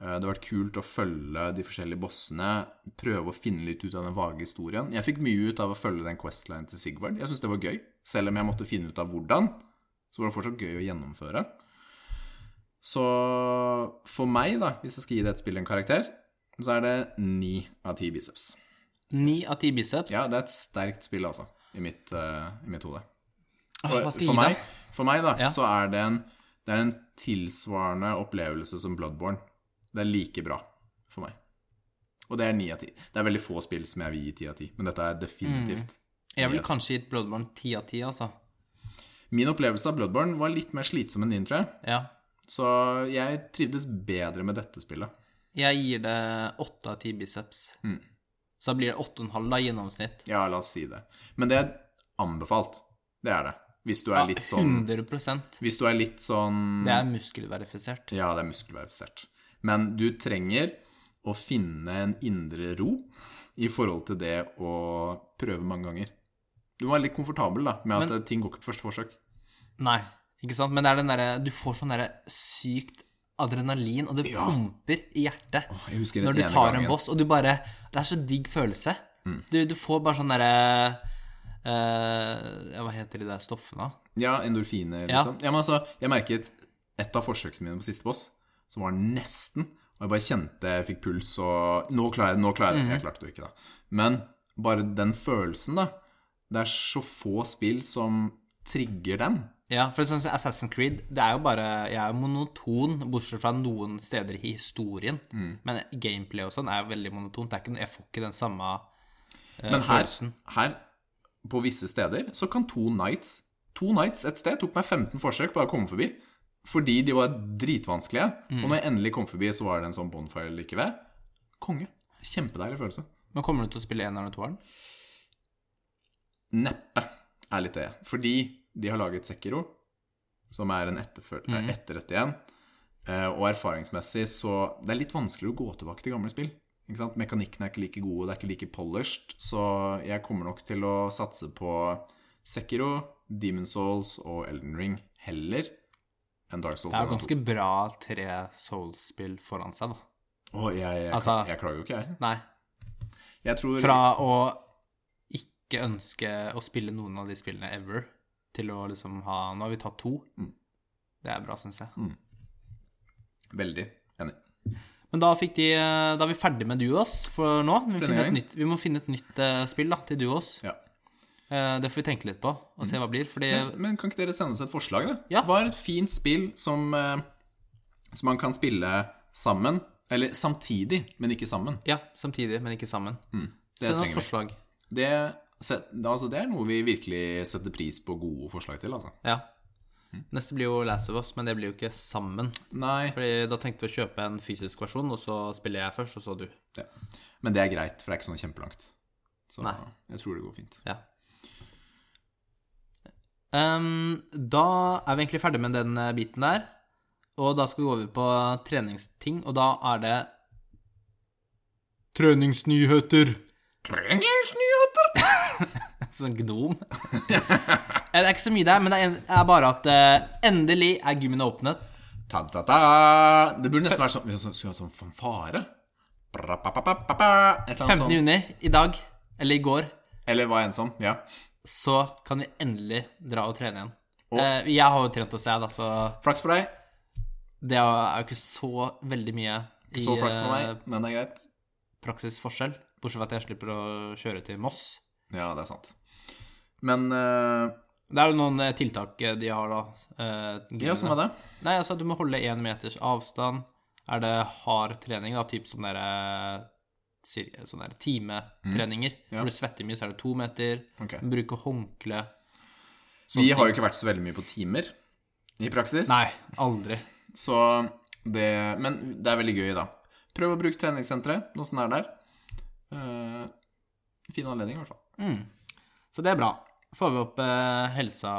[SPEAKER 2] Eh, Det har vært kult å følge de forskjellige bossene, prøve å finne litt ut av den vage historien. Jeg fikk mye ut av å følge den questlinen til Sigvard. Jeg syns det var gøy. Selv om jeg måtte finne ut av hvordan, så var det fortsatt gøy å gjennomføre. Så for meg, da, hvis jeg skal gi det et spill en karakter, så er det ni av ti biceps.
[SPEAKER 1] Ni av ti biceps.
[SPEAKER 2] Ja, det er et sterkt spill, altså, i mitt, eh, i mitt hode.
[SPEAKER 1] Åh,
[SPEAKER 2] Og
[SPEAKER 1] hva skal jeg
[SPEAKER 2] for,
[SPEAKER 1] gi
[SPEAKER 2] meg,
[SPEAKER 1] deg?
[SPEAKER 2] for meg, da,
[SPEAKER 1] Ja.
[SPEAKER 2] så er det en Det er en tilsvarende opplevelse som Bloodborne. Det er like bra for meg. Og det er ni av ti. Det er veldig få spill som jeg vil gi ti av ti, men dette er definitivt.
[SPEAKER 1] Mm. Jeg ville kanskje gitt Bloodborne ti av ti, altså.
[SPEAKER 2] Min opplevelse av Bloodborne var litt mer slitsom enn din, tror jeg.
[SPEAKER 1] Ja.
[SPEAKER 2] Så jeg trivdes bedre med dette spillet.
[SPEAKER 1] Jeg gir det åtte av ti biceps.
[SPEAKER 2] Mm.
[SPEAKER 1] Så da blir det åtte og en halv da, i gjennomsnitt.
[SPEAKER 2] Ja, la oss si det. Men det er anbefalt. Det er det. Hvis du er litt sånn
[SPEAKER 1] 100
[SPEAKER 2] Hvis du er litt sånn
[SPEAKER 1] Det er muskelverifisert.
[SPEAKER 2] Ja, det er muskelverifisert. Men du trenger å finne en indre ro i forhold til det å prøve mange ganger. Du må være litt komfortabel da, med at
[SPEAKER 1] Men-
[SPEAKER 2] eh, ting går ikke på første forsøk.
[SPEAKER 1] Nei, ikke sant? Men det er den derre Du får sånn derre sykt adrenalin, og det
[SPEAKER 2] Ja.
[SPEAKER 1] pumper i hjertet
[SPEAKER 2] Jeg husker den
[SPEAKER 1] når du
[SPEAKER 2] ene
[SPEAKER 1] tar
[SPEAKER 2] gangen. Mm.
[SPEAKER 1] en boss, og du bare Det er så digg følelse. Du, du får bare sånn derre eh, ja, Hva heter de der stoffene?
[SPEAKER 2] Ja, endorfiner,
[SPEAKER 1] Ja.
[SPEAKER 2] liksom. Ja. men altså, jeg merket et av forsøkene mine på siste boss, som var nesten Og jeg bare kjente jeg fikk puls og Nå klarer jeg det, nå klarer jeg
[SPEAKER 1] Mhm.
[SPEAKER 2] det. Jeg klarte det jo ikke, da. Men bare den følelsen, da. Det er så få spill som trigger den.
[SPEAKER 1] Ja, for sånn som Assassin's Creed, det er jo bare Jeg er jo monoton, bortsett fra noen steder i historien.
[SPEAKER 2] Mm.
[SPEAKER 1] Men gameplay og sånn er jo veldig monotont. Det er ikke, noe- jeg får ikke den samme eh,
[SPEAKER 2] Men her,
[SPEAKER 1] følelsen.
[SPEAKER 2] her, på visse steder, så kan to nights To nights et sted tok meg 15 forsøk bare å komme forbi. Fordi de var dritvanskelige. Og når jeg endelig kom forbi, så var det en sånn bonfire like ved. Konge. Kjempedeilig følelse.
[SPEAKER 1] Men kommer du til å spille eneren og toeren?
[SPEAKER 2] Neppe er litt det. Fordi de har laget Sekiro, som er en etterfør-
[SPEAKER 1] Mhm.
[SPEAKER 2] eh, etterrett igjen. Eh, Og erfaringsmessig så Det er litt vanskeligere å gå tilbake til gamle spill. Ikke sant? Mekanikken er ikke like god, og det er ikke like polished. Så jeg kommer nok til å satse på Sekiro, Demon Souls og Elden Ring heller enn Dark Souls.
[SPEAKER 1] Det er jo
[SPEAKER 2] 1 og 2.
[SPEAKER 1] ganske bra tre Souls-spill foran seg, da.
[SPEAKER 2] Å, jeg, jeg,
[SPEAKER 1] Altså-
[SPEAKER 2] jeg klager jo ikke, jeg.
[SPEAKER 1] Nei.
[SPEAKER 2] Jeg tror
[SPEAKER 1] Fra å ikke ønske å spille noen av de spillene ever, til å liksom ha Nå har vi tatt to.
[SPEAKER 2] Mm.
[SPEAKER 1] Det er bra, syns jeg.
[SPEAKER 2] Veldig enig.
[SPEAKER 1] Men da, fikk de, eh, da er vi ferdig med Duos for nå. Vi, må
[SPEAKER 2] Denne
[SPEAKER 1] finne et
[SPEAKER 2] gangen.
[SPEAKER 1] nytt, vi må finne et nytt eh, spill da, til Duos.
[SPEAKER 2] Ja. Mm.
[SPEAKER 1] Eh, Det får vi tenke litt på og se hva det blir. Fordi
[SPEAKER 2] Men kan ikke dere sende oss et forslag, da?
[SPEAKER 1] Ja.
[SPEAKER 2] Hva er et fint spill som, eh, som man kan spille sammen? Eller samtidig, men ikke sammen.
[SPEAKER 1] Ja, samtidig, men ikke sammen.
[SPEAKER 2] Mm. det
[SPEAKER 1] Send oss
[SPEAKER 2] trenger vi.
[SPEAKER 1] forslag.
[SPEAKER 2] Det, set, altså, det er noe vi virkelig setter pris på gode forslag til, altså.
[SPEAKER 1] Ja. Neste blir jo Last of Us, men det blir jo ikke sammen.
[SPEAKER 2] Nei,
[SPEAKER 1] Fordi da tenkte vi å kjøpe en fysisk versjon, og så spiller jeg først, og så du.
[SPEAKER 2] ja. men det er greit, for det er ikke sånn kjempelangt. Så
[SPEAKER 1] Nei.
[SPEAKER 2] jeg tror det går fint.
[SPEAKER 1] Ja. Ehm, da er vi egentlig ferdig med den eh, biten der. Og da skal vi gå over på treningsting, og da er det Treningsnyheter!
[SPEAKER 2] Treningsnyheter!
[SPEAKER 1] Sånn gnom. Eh, det er ikke så mye der, men det er en- er bare at eh, endelig er gymmene åpnet.
[SPEAKER 2] Ta-ta-ta! Det burde nesten vært sånn vi Skulle hatt sånn fanfare. Bra-pa-pa-pa-pa-pa. Et eller annet
[SPEAKER 1] 15.
[SPEAKER 2] sånt.
[SPEAKER 1] juni, i dag, eller i går,
[SPEAKER 2] Eller hva enn som. Ja.
[SPEAKER 1] så kan vi endelig dra og trene igjen.
[SPEAKER 2] Og-
[SPEAKER 1] Eh, jeg har jo trent hos deg, da, så
[SPEAKER 2] Flaks for deg.
[SPEAKER 1] det er jo ikke så veldig mye i
[SPEAKER 2] Så flaks for
[SPEAKER 1] eh,
[SPEAKER 2] meg, men det er greit.
[SPEAKER 1] praksisforskjell. Bortsett fra at jeg slipper å kjøre til Moss.
[SPEAKER 2] Ja, det er sant. Men eh,
[SPEAKER 1] Det er jo noen eh, tiltak eh, de har, da. eh,
[SPEAKER 2] Ja, sånn var det.
[SPEAKER 1] Nei, altså du må holde én meters avstand. Er det hard trening, da, typ sånn sånne derre sir- sånne sånn der timetreninger.
[SPEAKER 2] Mm. Ja.
[SPEAKER 1] Når du svetter mye, så er det to meter.
[SPEAKER 2] Ok.
[SPEAKER 1] Bruke håndkle.
[SPEAKER 2] Vi har jo ikke vært så veldig mye på timer i praksis.
[SPEAKER 1] Nei, aldri.
[SPEAKER 2] Så det Men det er veldig gøy, da. Prøv å bruke treningssenteret, noe som er der. Eh, fin anledning, i hvert fall.
[SPEAKER 1] Mm. Så det er bra. Får vi opp eh, helsa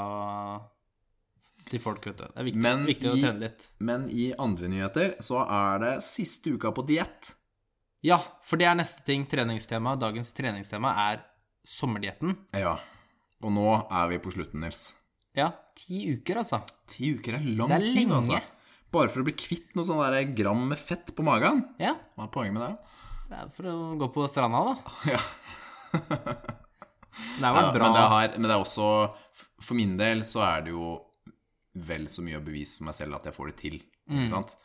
[SPEAKER 1] til folk, vet du. Det er viktig,
[SPEAKER 2] Men
[SPEAKER 1] viktig å
[SPEAKER 2] i-
[SPEAKER 1] trene litt.
[SPEAKER 2] Men i andre nyheter så er det siste uka på diett.
[SPEAKER 1] Ja, for det er neste ting. Treningstema. Dagens treningstema er sommerdietten.
[SPEAKER 2] Ja. Og nå er vi på slutten, Nils.
[SPEAKER 1] Ja, ti uker, altså.
[SPEAKER 2] Ti uker er lang
[SPEAKER 1] Det er
[SPEAKER 2] tid,
[SPEAKER 1] lenge.
[SPEAKER 2] altså. Bare for å bli kvitt noe sånn der gram med fett på magen.
[SPEAKER 1] Ja,
[SPEAKER 2] Hva er poenget med det? da?
[SPEAKER 1] det er for å gå på stranda, da.
[SPEAKER 2] Ja.
[SPEAKER 1] Det har vært
[SPEAKER 2] Ja,
[SPEAKER 1] bra.
[SPEAKER 2] Men det, har, men det er også For min del så er det jo vel så mye å bevise for meg selv at jeg får det til. Ikke sant?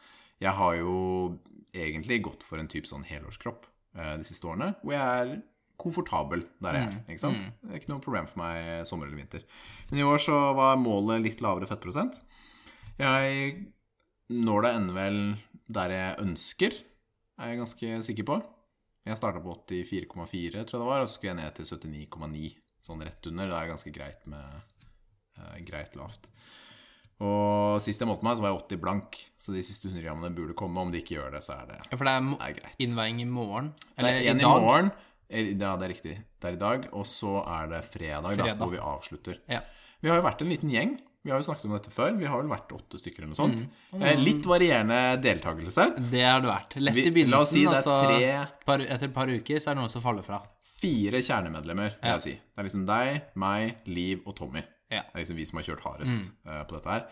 [SPEAKER 2] Jeg har jo egentlig gått for en type sånn helårskropp eh, de siste årene, hvor jeg er komfortabel der jeg er. Ikke sant? Det er ikke noe problem for meg sommer eller vinter. Men i år så var målet litt lavere fettprosent. Jeg når det ender vel der jeg ønsker, er jeg ganske sikker på. Jeg starta på 84,4, tror jeg det var, og så skulle jeg ned til 79,9. Sånn rett under. Det er ganske greit med eh, greit lavt. Og sist jeg målte meg, så var jeg 80 blank, så de siste 100 grammene burde komme. Om de ikke gjør det, så er det,
[SPEAKER 1] Ja, for det er
[SPEAKER 2] er
[SPEAKER 1] mo-
[SPEAKER 2] greit.
[SPEAKER 1] innveiing i morgen.
[SPEAKER 2] Det
[SPEAKER 1] Eller
[SPEAKER 2] er
[SPEAKER 1] i
[SPEAKER 2] en i,
[SPEAKER 1] dag.
[SPEAKER 2] morgen. eh, Ja, det er riktig. Det er i dag. Og så er det fredag, da,
[SPEAKER 1] Fredag.
[SPEAKER 2] hvor vi avslutter.
[SPEAKER 1] Ja.
[SPEAKER 2] Vi har jo vært en liten gjeng. Vi har jo snakket om dette før. Vi har vel vært åtte stykker eller noe sånt.
[SPEAKER 1] Mm.
[SPEAKER 2] Eh, Litt varierende deltakelse.
[SPEAKER 1] Det har det vært. Lett
[SPEAKER 2] Vi-
[SPEAKER 1] i begynnelsen.
[SPEAKER 2] la oss si det er
[SPEAKER 1] altså,
[SPEAKER 2] tre-
[SPEAKER 1] et par, etter et par uker så er det noen som faller fra.
[SPEAKER 2] Fire kjernemedlemmer, vil jeg si. Det er liksom deg, meg, Liv og Tommy.
[SPEAKER 1] Ja.
[SPEAKER 2] Det er liksom vi som har kjørt hardest
[SPEAKER 1] Mm.
[SPEAKER 2] eh, på dette her.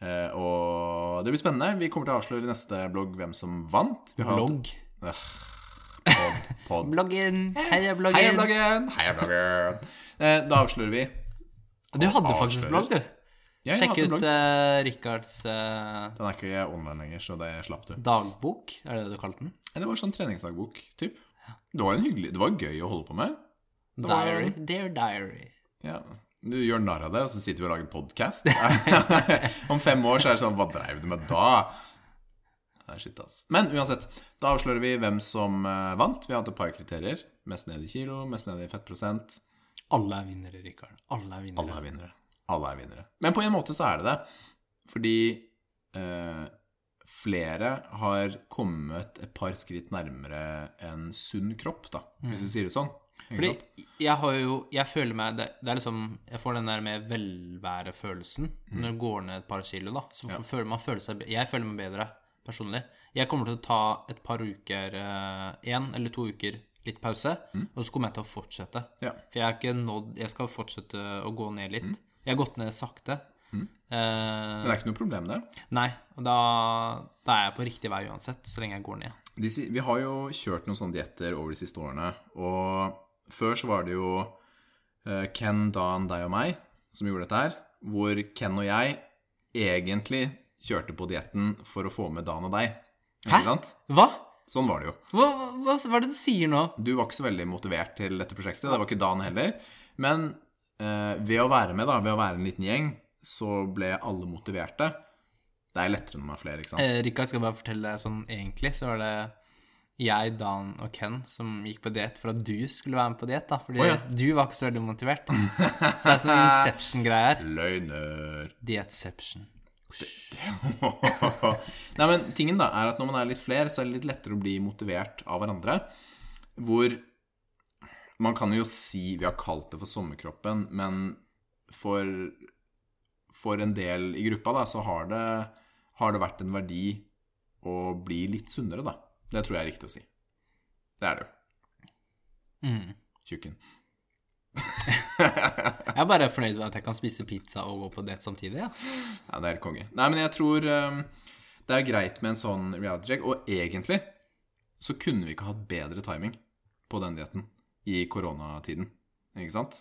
[SPEAKER 2] Eh, og det blir spennende. Vi kommer til å avsløre i neste blogg hvem som vant. Vi har hatt-
[SPEAKER 1] Blogg.
[SPEAKER 2] Pod, pod.
[SPEAKER 1] Bloggen. Heia bloggen.
[SPEAKER 2] Heia bloggen! Heia bloggen! Eh, da avslører vi.
[SPEAKER 1] Du hadde faktisk
[SPEAKER 2] Avslører.
[SPEAKER 1] blogg, du.
[SPEAKER 2] Ja, jeg har
[SPEAKER 1] Sjekk
[SPEAKER 2] hatt en
[SPEAKER 1] ut
[SPEAKER 2] blogg.
[SPEAKER 1] eh, Rikards eh,
[SPEAKER 2] Den er ikke online lenger, så det slapp
[SPEAKER 1] Mm.
[SPEAKER 2] du.
[SPEAKER 1] dagbok, er det det du kalte den?
[SPEAKER 2] Det var sånn treningsdagbok, typ. Det var, en hyggelig, det var gøy å holde på med. Det var-
[SPEAKER 1] Diary. Dear diary.
[SPEAKER 2] Ja. Du gjør narr av det, og så sitter vi og lager podkast. Om fem år så er det sånn Hva dreiv du med da? Nei, shit, ass. Men uansett, da avslører vi hvem som eh, vant. Vi har hatt et par kriterier. Mest ned i kilo, mest ned i fettprosent.
[SPEAKER 1] Alle er vinnere, Rikard. Alle er vinnere.
[SPEAKER 2] Alle er vinnere. Alle er vinnere. Men på en måte så er det det. Fordi eh, flere har kommet et par skritt nærmere en sunn kropp, da, hvis vi sier det sånn. Ikke
[SPEAKER 1] Fordi
[SPEAKER 2] sant?
[SPEAKER 1] jeg har jo Jeg føler meg Det, det er liksom Jeg får den der med velværefølelsen
[SPEAKER 2] Mm.
[SPEAKER 1] når du går ned et par kilo, da. Så føler man føler seg be- Jeg føler meg bedre personlig. Jeg kommer til å ta et par uker Én eller to uker litt pause, og så kommer jeg til å fortsette.
[SPEAKER 2] Mm. Ja. Mm.
[SPEAKER 1] For jeg har ikke nådd Jeg skal fortsette å gå ned litt. Jeg har gått ned sakte.
[SPEAKER 2] Men
[SPEAKER 1] Eh,
[SPEAKER 2] det er ikke noe problem der.
[SPEAKER 1] nei, og da, da er jeg på riktig vei uansett, så lenge jeg går ned.
[SPEAKER 2] de, si- vi har jo kjørt noen sånne dietter over de siste årene, og før så var det jo eh, Ken, Dan, deg og meg som gjorde dette her, hvor Ken og jeg egentlig kjørte på dietten for å få med Dan og deg.
[SPEAKER 1] Hæ?
[SPEAKER 2] Ikke sant?
[SPEAKER 1] Hva?
[SPEAKER 2] Sånn var det jo.
[SPEAKER 1] Hva, hva, hva er det du sier nå?
[SPEAKER 2] Du var ikke så veldig motivert til dette prosjektet, det var ikke Dan heller. Men eh, ved å være med, da, ved å være en liten gjeng, så ble alle motiverte. Det er lettere når man er flere, ikke sant?
[SPEAKER 1] Eh, Rikard skal bare fortelle deg sånn egentlig, så var det jeg, Dan og Ken som gikk på diett for at du skulle være med på diett, da. Fordi
[SPEAKER 2] Å, ja.
[SPEAKER 1] du var ikke så veldig motivert. Så det er sånn Inception-greie her.
[SPEAKER 2] Løgner.
[SPEAKER 1] Diettception.
[SPEAKER 2] Nei, men tingen da er at når man er litt flere, så er det litt lettere å bli motivert av hverandre. Hvor man kan jo si vi har kalt det for sommerkroppen, men for, for en del i gruppa da, så har det, har det vært en verdi å bli litt sunnere, da. Det tror jeg er riktig å si. Det er det jo.
[SPEAKER 1] Mm.
[SPEAKER 2] Tjukken.
[SPEAKER 1] Jeg er bare fornøyd med at jeg kan spise pizza og gå på diett samtidig, ja.
[SPEAKER 2] Ja, det er helt konge. Nei, men jeg tror ehm, det er greit med en sånn reality check. Og egentlig så kunne vi ikke hatt bedre timing på den dietten i koronatiden. Ikke sant?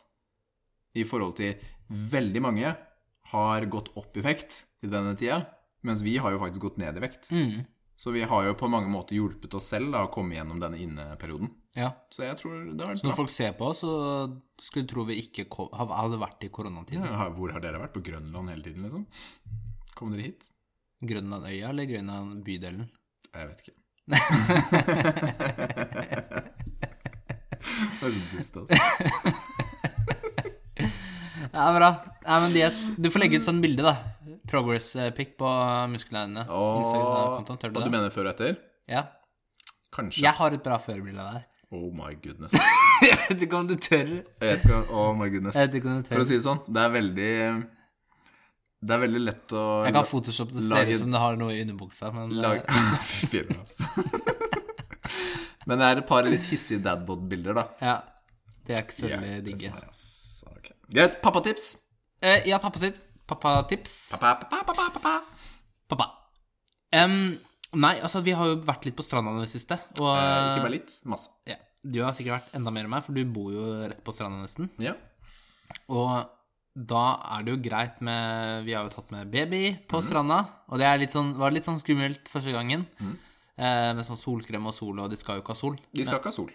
[SPEAKER 2] I forhold til veldig mange har gått opp i vekt i denne tida, mens vi har jo faktisk gått ned i vekt.
[SPEAKER 1] Mm.
[SPEAKER 2] Så vi har jo på mange måter hjulpet oss selv da, å komme gjennom denne inneperioden.
[SPEAKER 1] ja.
[SPEAKER 2] Så jeg tror det har vært
[SPEAKER 1] Så når
[SPEAKER 2] bra.
[SPEAKER 1] folk ser på oss, så skulle de tro vi ikke ko- hadde vært i koronatiden.
[SPEAKER 2] Ja, hvor har dere vært? På Grønland hele tiden, liksom? Kom dere hit?
[SPEAKER 1] Grønlandøya eller Grønland-bydelen?
[SPEAKER 2] Jeg vet ikke. Det er så dust, altså.
[SPEAKER 1] Ja, bra. Ja, men diet. Du får legge ut sånn bilde, da. Progress-pic på musklene dine. Instagram-kontoen, tør du
[SPEAKER 2] og
[SPEAKER 1] det?
[SPEAKER 2] du mener før og etter?
[SPEAKER 1] Ja.
[SPEAKER 2] Kanskje.
[SPEAKER 1] Jeg har et bra førbilde av deg.
[SPEAKER 2] Oh my goodness.
[SPEAKER 1] Jeg vet ikke om du tør. Jeg
[SPEAKER 2] Jeg vet ikke, oh my goodness.
[SPEAKER 1] vet ikke om Eh, du
[SPEAKER 2] For å
[SPEAKER 1] tør.
[SPEAKER 2] si det sånn, det er veldig Det er veldig lett å
[SPEAKER 1] Jeg kan photoshoppe det ser
[SPEAKER 2] Lage-
[SPEAKER 1] ut som du har noe i underbuksa, men eh,
[SPEAKER 2] Lag... Fy fire, altså. Men det er et par litt hissige dadbod-bilder, da.
[SPEAKER 1] Ja. Det er ikke så veldig
[SPEAKER 2] Hjelpes
[SPEAKER 1] digge.
[SPEAKER 2] meg, ass. Ok. Greit. Pappatips.
[SPEAKER 1] Eh, ja, pappatips. Pappatips.
[SPEAKER 2] Pappa, pappa, pappa, pappa.
[SPEAKER 1] Pappa. Em, nei, altså, vi har jo vært litt på stranda i det siste, og
[SPEAKER 2] Eh, ikke bare litt. Masse.
[SPEAKER 1] ja, Du har sikkert vært enda mer enn meg, for du bor jo rett på stranda nesten.
[SPEAKER 2] Ja.
[SPEAKER 1] Og da er det jo greit med Vi har jo tatt med baby på
[SPEAKER 2] Mhm.
[SPEAKER 1] stranda, og det er litt sånn, var litt sånn skummelt første gangen.
[SPEAKER 2] Mhm.
[SPEAKER 1] Eh, med sånn solkrem og sol, og de skal jo ikke ha sol.
[SPEAKER 2] De skal ikke ha sol.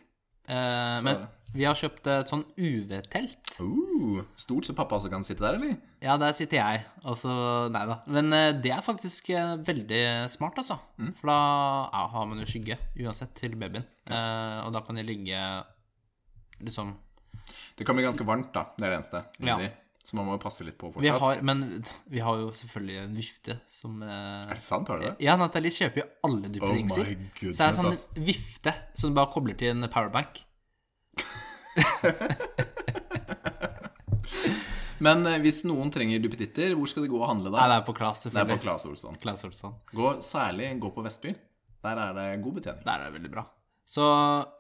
[SPEAKER 1] Eh, men vi har kjøpt et sånn UV-telt.
[SPEAKER 2] Uh, stort, så pappa også kan sitte der, eller?
[SPEAKER 1] Ja, der sitter jeg, og så Nei da. Men eh, det er faktisk eh, veldig smart, altså.
[SPEAKER 2] Mm.
[SPEAKER 1] For da ja, har man jo skygge uansett til babyen, eh, og da kan de ligge liksom
[SPEAKER 2] Det kan bli ganske varmt, da. Det er det eneste.
[SPEAKER 1] Ja.
[SPEAKER 2] egentlig. Så man må jo passe litt på
[SPEAKER 1] vi
[SPEAKER 2] fortsatt.
[SPEAKER 1] har, Men vi har jo selvfølgelig en vifte som eh,
[SPEAKER 2] Er det sant? Har du det?
[SPEAKER 1] Ja, Natalie kjøper jo alle
[SPEAKER 2] Oh my
[SPEAKER 1] duppedingser.
[SPEAKER 2] goodness,
[SPEAKER 1] så er det sånn
[SPEAKER 2] ass.
[SPEAKER 1] en vifte som du bare kobler til en powerbank.
[SPEAKER 2] Men eh, hvis noen trenger duppeditter, hvor skal de gå og handle
[SPEAKER 1] Nei,
[SPEAKER 2] da?
[SPEAKER 1] det er på Klas,
[SPEAKER 2] Det er på
[SPEAKER 1] selvfølgelig.
[SPEAKER 2] Claes Olsson.
[SPEAKER 1] Klas Olsson.
[SPEAKER 2] Gå, særlig gå på Vestby. Der er det god betjening.
[SPEAKER 1] Der er det veldig bra. Så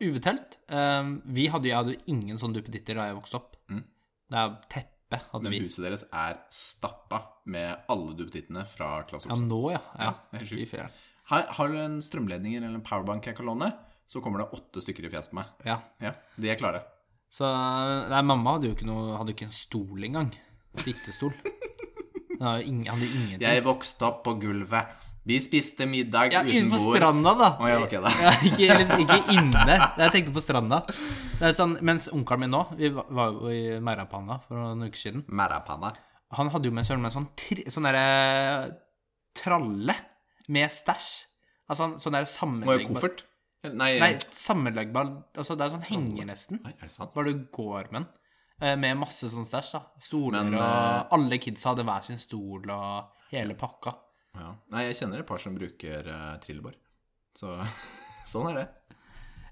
[SPEAKER 1] UV-telt eh, Vi hadde, jeg hadde jo ingen sånn duppeditter da jeg vokste opp.
[SPEAKER 2] Mm.
[SPEAKER 1] Det er teppe hadde
[SPEAKER 2] Men
[SPEAKER 1] vi.
[SPEAKER 2] huset deres er stappa med alle duppedittene fra Claes
[SPEAKER 1] Ja,
[SPEAKER 2] Olsson.
[SPEAKER 1] nå, ja. ja.
[SPEAKER 2] det er
[SPEAKER 1] Fy
[SPEAKER 2] sjukt.
[SPEAKER 1] fjern.
[SPEAKER 2] Har, har du en strømledninger eller en powerbank jeg kan låne, så kommer det åtte stykker i fjes på meg.
[SPEAKER 1] ja.
[SPEAKER 2] Ja, De er klare.
[SPEAKER 1] Så Nei, mamma hadde jo ikke noe Hadde jo ikke en stol engang. Sittestol. Hun hadde jo ingen- hadde jo ingenting.
[SPEAKER 2] Jeg vokste opp på gulvet. Vi spiste middag
[SPEAKER 1] ja,
[SPEAKER 2] uten
[SPEAKER 1] innenfor
[SPEAKER 2] bord.
[SPEAKER 1] stranda, da.
[SPEAKER 2] Å, ja, ok, da.
[SPEAKER 1] Ja, ikke, liksom, ikke inne. Jeg tenkte på stranda. Det er sånn, mens onkelen min nå Vi var- var jo i Merapanna for noen uker siden.
[SPEAKER 2] Merapanna.
[SPEAKER 1] Han hadde jo med søren meg sånn, tri- sånn derre tralle med stæsj. Altså han- sånn derre
[SPEAKER 2] Må jo
[SPEAKER 1] sammenleggbar
[SPEAKER 2] koffert. Nei,
[SPEAKER 1] Nei, sammenleggbar Altså det er sånn henger nesten.
[SPEAKER 2] Nei, er det sant?
[SPEAKER 1] Bare du går med den. Eh, Med masse sånn stæsj, da. Stoler
[SPEAKER 2] Men, eh,
[SPEAKER 1] og Alle kidsa hadde hver sin stol og hele pakka.
[SPEAKER 2] Ja. Nei, jeg kjenner et par som bruker uh, trillebår. Så sånn er det.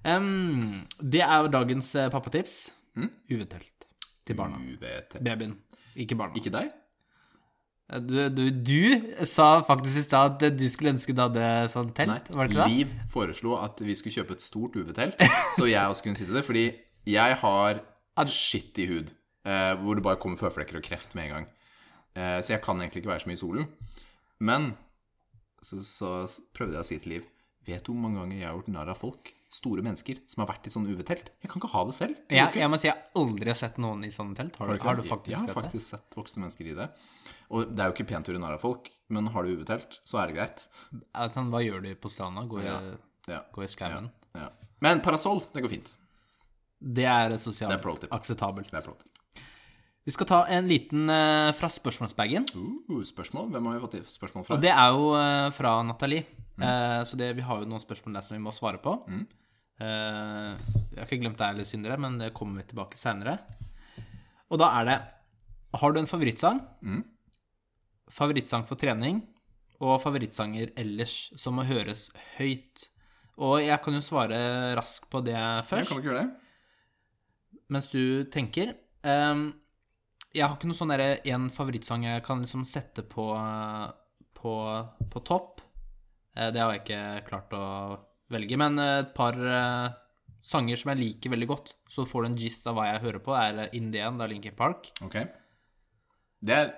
[SPEAKER 1] Em, det er jo dagens eh, pappatips.
[SPEAKER 2] Mm.
[SPEAKER 1] UV-telt til barna.
[SPEAKER 2] UVT.
[SPEAKER 1] Babyen, ikke barna.
[SPEAKER 2] Ikke deg?
[SPEAKER 1] Du, du, du sa faktisk i stad at du skulle ønske du hadde sånn telt, var det ikke det?
[SPEAKER 2] Liv foreslo at vi skulle kjøpe et stort UV-telt, så jeg også kunne sitte i det. Fordi jeg har skittig hud, eh, hvor det bare kommer føflekker og kreft med en gang. Eh, så jeg kan egentlig ikke være så mye i solen. Men så, så s- prøvde jeg å si til Liv Vet du hvor mange ganger jeg har gjort narr av folk, store mennesker, som har vært i sånn UV-telt? Jeg kan ikke ha det selv.
[SPEAKER 1] Jeg, jeg må si jeg aldri har sett noen i sånne telt. Har du, har du faktisk
[SPEAKER 2] jeg har
[SPEAKER 1] sett det?
[SPEAKER 2] faktisk sett voksne mennesker i det. Og det er jo ikke pent å gjøre narr av folk, men har du UV-telt, så er det greit.
[SPEAKER 1] Ja, sånn, hva gjør du på stranda? Går,
[SPEAKER 2] Ja.
[SPEAKER 1] i-
[SPEAKER 2] Ja.
[SPEAKER 1] går i skauen?
[SPEAKER 2] Ja. Men parasoll, det går fint.
[SPEAKER 1] Det er eh, sosialt
[SPEAKER 2] Det er pro tip.
[SPEAKER 1] akseptabelt.
[SPEAKER 2] Det er flott.
[SPEAKER 1] Vi skal ta en liten eh, fra spørsmålsbagen.
[SPEAKER 2] Uh, spørsmål? Hvem har vi fått i- spørsmål fra? Mm.
[SPEAKER 1] Og det er jo eh, fra Nathalie. Eh, så det, vi har jo noen spørsmål der som vi må svare på. Eh, jeg har ikke glemt deg eller Sindre, men det kommer vi tilbake senere. Og da er det Har du en favorittsang?
[SPEAKER 2] Mm.
[SPEAKER 1] Favorittsang for trening og favorittsanger ellers som må høres høyt. Og jeg kan jo svare raskt på det
[SPEAKER 2] Jeg
[SPEAKER 1] først
[SPEAKER 2] kan ikke gjøre det.
[SPEAKER 1] mens du tenker. Ehm, jeg har ikke noe sånn derre en favorittsang jeg kan liksom sette på, eh, på, på topp. Eh, det har jeg ikke klart å velge. Men eh, et par eh, sanger som jeg liker veldig godt, så får du en gist av hva jeg hører på, er eh, In The End av Linkin Park.
[SPEAKER 2] Ok. Det er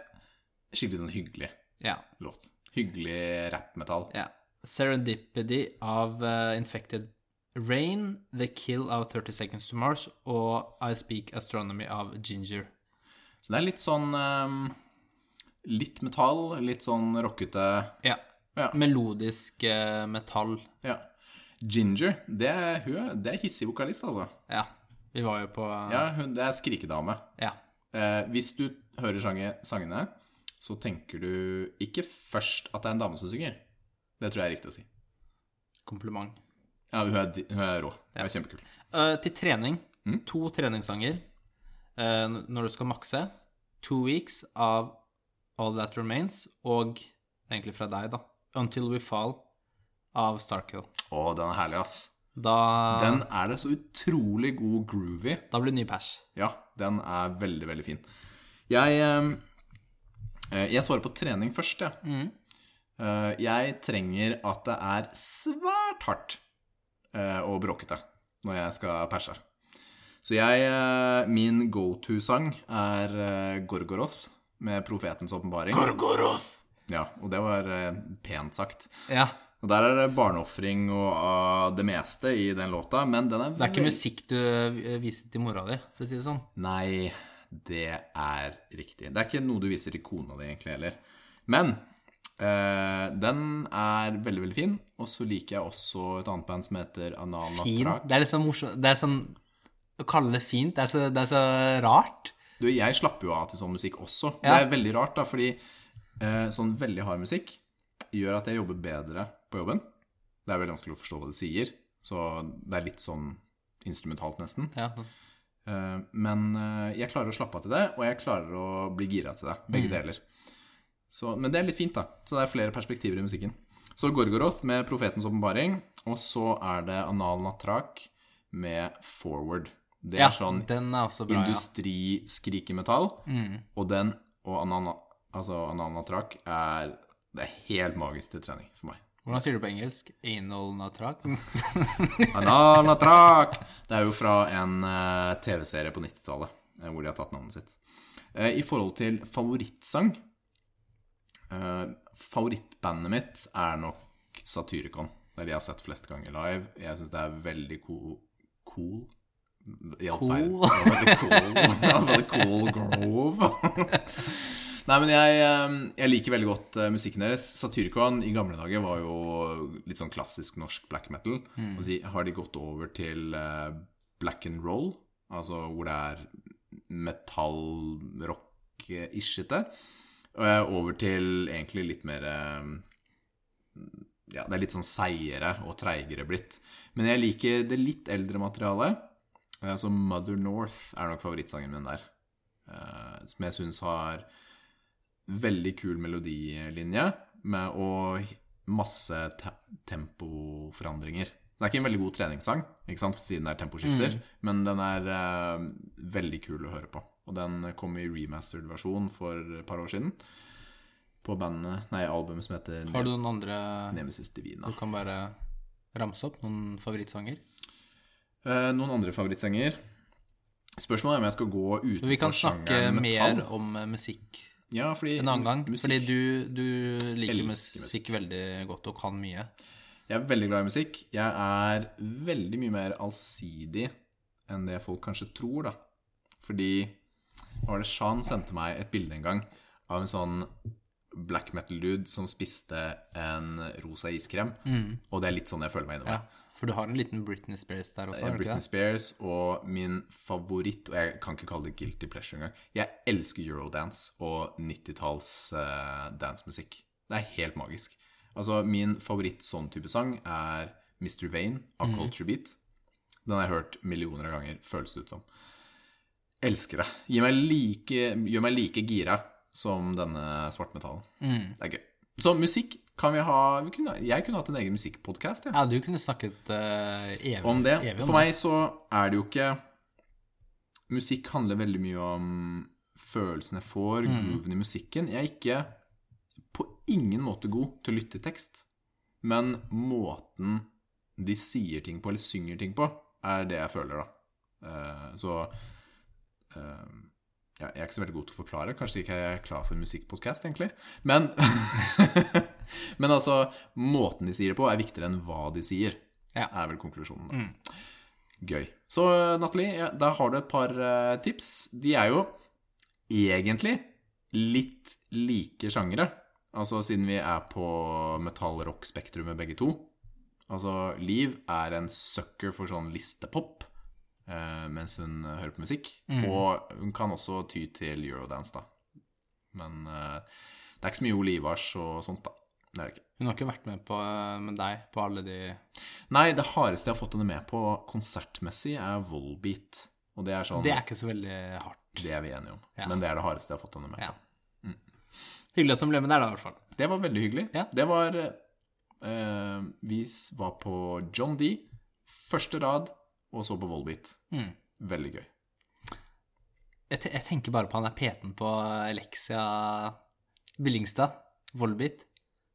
[SPEAKER 2] skikkelig sånn hyggelig
[SPEAKER 1] Ja.
[SPEAKER 2] låt. Hyggelig rappmetall.
[SPEAKER 1] ja. Serendipity av eh, Infected Rain, The Kill av 30 Seconds to Mars og I Speak Astronomy av Ginger.
[SPEAKER 2] Så det er litt sånn ehm, Litt metall, litt sånn rockete
[SPEAKER 1] Ja.
[SPEAKER 2] Ja.
[SPEAKER 1] Melodisk eh, metall.
[SPEAKER 2] Ja. Ginger, det er, hun er, det er hissig vokalist, altså.
[SPEAKER 1] Ja. Vi var jo på
[SPEAKER 2] Ja, hun, det er skrikedame.
[SPEAKER 1] Ja.
[SPEAKER 2] Eh, hvis du hører sange, sangene, så tenker du ikke først at det er en dame som synger. Det tror jeg er riktig å si.
[SPEAKER 1] Kompliment.
[SPEAKER 2] Ja, hun er, hun er rå. Hun er kjempekul.
[SPEAKER 1] Eh, til trening.
[SPEAKER 2] Mm.
[SPEAKER 1] To treningssanger eh, n- når du skal makse. Two Weeks av All That Remains og det er egentlig fra deg, da. Until We Fall av Starkill.
[SPEAKER 2] Å, den er herlig, ass.
[SPEAKER 1] Da,
[SPEAKER 2] Den er det så utrolig god groovy.
[SPEAKER 1] da blir det ny pers.
[SPEAKER 2] Ja, den er veldig, veldig fin. Jeg, ehm, eh, jeg svarer på trening først, jeg. Ja.
[SPEAKER 1] Mhm.
[SPEAKER 2] Eh, Jeg trenger at det er svært hardt eh, og bråkete når jeg skal perse. Så jeg, eh, min go-to-sang er eh, Gorgoroth med Profetens åpenbaring. Gorgoroth! Ja, og det var eh, pent sagt.
[SPEAKER 1] Ja.
[SPEAKER 2] Og der er det barneofring og ah, det meste i den låta, men den er
[SPEAKER 1] Det er ikke
[SPEAKER 2] veldig-
[SPEAKER 1] musikk du eh, viser til mora di, for å si det sånn.
[SPEAKER 2] Nei, det er riktig. Det er ikke noe du viser til kona di egentlig heller. Men eh, den er veldig, veldig fin. Og så liker jeg også et annet band som heter Anana
[SPEAKER 1] Fin.
[SPEAKER 2] Trak.
[SPEAKER 1] Det er liksom morsomt Det er sånn Å kalle det fint, det er så, det er så rart.
[SPEAKER 2] Du, jeg slapper jo av til sånn musikk også.
[SPEAKER 1] Ja.
[SPEAKER 2] Det er veldig rart, da, fordi eh, sånn veldig hard musikk gjør at jeg jobber bedre på jobben. Det er veldig vanskelig å forstå hva de sier, så det er litt sånn instrumentalt, nesten.
[SPEAKER 1] Ja.
[SPEAKER 2] Eh, Men eh, jeg klarer å slappe av til det, og jeg klarer å bli gira til det.
[SPEAKER 1] Mm.
[SPEAKER 2] Begge deler. Så, men det er litt fint, da. Så det er flere perspektiver i musikken. Så Gorgoroth med 'Profetens åpenbaring', og så er det Anal Natrak med 'Forward'. Det er
[SPEAKER 1] Ja,
[SPEAKER 2] sånn
[SPEAKER 1] den er også bra, ja. Mm.
[SPEAKER 2] industriskrikemetall. Og den og anana, altså ananatrak er Det er helt magisk til trening for meg.
[SPEAKER 1] Hvordan sier du på engelsk? Anal natrak?
[SPEAKER 2] Ananatrak! Det er jo fra en eh, TV-serie på 90-tallet eh, hvor de har tatt navnet sitt. Eh, I forhold til favorittsang eh, Favorittbandet mitt er nok Satyricon. Det er de jeg har sett flest ganger live. Jeg syns det er veldig cool Cool? Det hjalp feil.
[SPEAKER 1] Cool.
[SPEAKER 2] Det var veldig cool. Det var veldig cool grove. Nei, men jeg, eh, jeg liker veldig godt eh, musikken deres. Satyricon i gamle dager var jo litt sånn klassisk norsk black metal. Og så har de gått over til eh, black and roll, altså hvor det er metallrock-ishete, eh, over til egentlig litt mer eh, ja, det er litt sånn seigere og treigere blitt. Men jeg liker det litt eldre materialet. eh, Så Mother North er nok favorittsangen min der. eh, Som jeg syns har veldig kul melodilinje, med, og masse te tempoforandringer. Det er ikke en veldig god treningssang, ikke sant? siden det er temposkifter,
[SPEAKER 1] Mm.
[SPEAKER 2] men den er eh, veldig kul å høre på. Og den kom i remastered versjon for et par år siden. På bandet, nei, albumet som heter
[SPEAKER 1] Har du noen andre
[SPEAKER 2] Nemesis Divina.
[SPEAKER 1] Du kan bare ramse opp noen favorittsanger.
[SPEAKER 2] Eh, noen andre favorittsanger? Spørsmålet er om jeg skal gå utenfor
[SPEAKER 1] Vi kan snakke
[SPEAKER 2] sjangeren
[SPEAKER 1] mer
[SPEAKER 2] metall.
[SPEAKER 1] om eh, musikk
[SPEAKER 2] Ja, fordi
[SPEAKER 1] en annen gang.
[SPEAKER 2] musikk-
[SPEAKER 1] Fordi du, du liker
[SPEAKER 2] Elsker
[SPEAKER 1] musikk, veldig godt og kan mye.
[SPEAKER 2] Jeg er veldig glad i musikk. Jeg er veldig mye mer allsidig enn det folk kanskje tror, da. Fordi hva var det Shan sendte meg et bilde en gang av en sånn black metal-dude som spiste en rosa iskrem. Og det er litt sånn jeg føler meg inni meg.
[SPEAKER 1] Mm. Ja. For du har en liten Britney Spears der også?
[SPEAKER 2] Jeg
[SPEAKER 1] har
[SPEAKER 2] er
[SPEAKER 1] du ikke
[SPEAKER 2] eh, Britney
[SPEAKER 1] det?
[SPEAKER 2] Spears, og min favoritt Og jeg kan ikke kalle det guilty pleasure engang. Jeg elsker eurodance og 90-talls uh, dansemusikk. Det er helt magisk. Altså, min favoritt sånn type sang er Mr. Vane av
[SPEAKER 1] Mhm.
[SPEAKER 2] Culture Beat. Den har jeg hørt millioner av ganger, føles det ut som. Elsker det. Gir meg like, gjør meg like gira som denne svartmetallen.
[SPEAKER 1] Mhm.
[SPEAKER 2] Det er gøy. Så musikk kan vi ha vi kunne, Jeg kunne hatt en egen musikkpodkast, jeg.
[SPEAKER 1] Ja, du kunne snakket eh, evig
[SPEAKER 2] om det.
[SPEAKER 1] evig
[SPEAKER 2] For meg så er det jo ikke Musikk handler veldig mye om følelsen jeg får, grooven i musikken. Jeg er ikke på ingen måte god til å lytte til tekst, men måten de sier ting på, eller synger ting på, er det jeg føler, da. Eh, så eh, ja, jeg er ikke så veldig god til å forklare. Kanskje ikke jeg er klar for en musikkpodkast, egentlig. Men, men altså, måten de sier det på, er viktigere enn hva de sier,
[SPEAKER 1] Ja.
[SPEAKER 2] er vel konklusjonen. da. Gøy. Så Nathalie, ja, da har du et par eh, tips. De er jo egentlig litt like sjangere. Altså siden vi er på metall-rock-spektrumet begge to. Altså, Liv er en sucker for sånn listepop eh, mens hun eh, hører på musikk. Og hun kan også ty til eurodance, da. Men eh, det er ikke så mye olivars og sånt, da. Det er det ikke.
[SPEAKER 1] Hun har ikke vært med på, eh, med deg på alle de
[SPEAKER 2] Nei, det hardeste jeg har fått henne med på konsertmessig, er Volbeat. Og det er sånn
[SPEAKER 1] Det er ikke så veldig hardt.
[SPEAKER 2] det er vi enige om.
[SPEAKER 1] Ja.
[SPEAKER 2] Men det er det hardeste jeg har fått henne med.
[SPEAKER 1] Ja. Hyggelig at hun ble med der, da, i hvert fall.
[SPEAKER 2] Det var veldig hyggelig.
[SPEAKER 1] Ja.
[SPEAKER 2] Det var eh, Vi s- var på John D, første rad, og så på Volbeat.
[SPEAKER 1] Mm.
[SPEAKER 2] Veldig gøy.
[SPEAKER 1] Jeg, te- jeg tenker bare på han der PT-en på Alexia Billingstad, Volbit.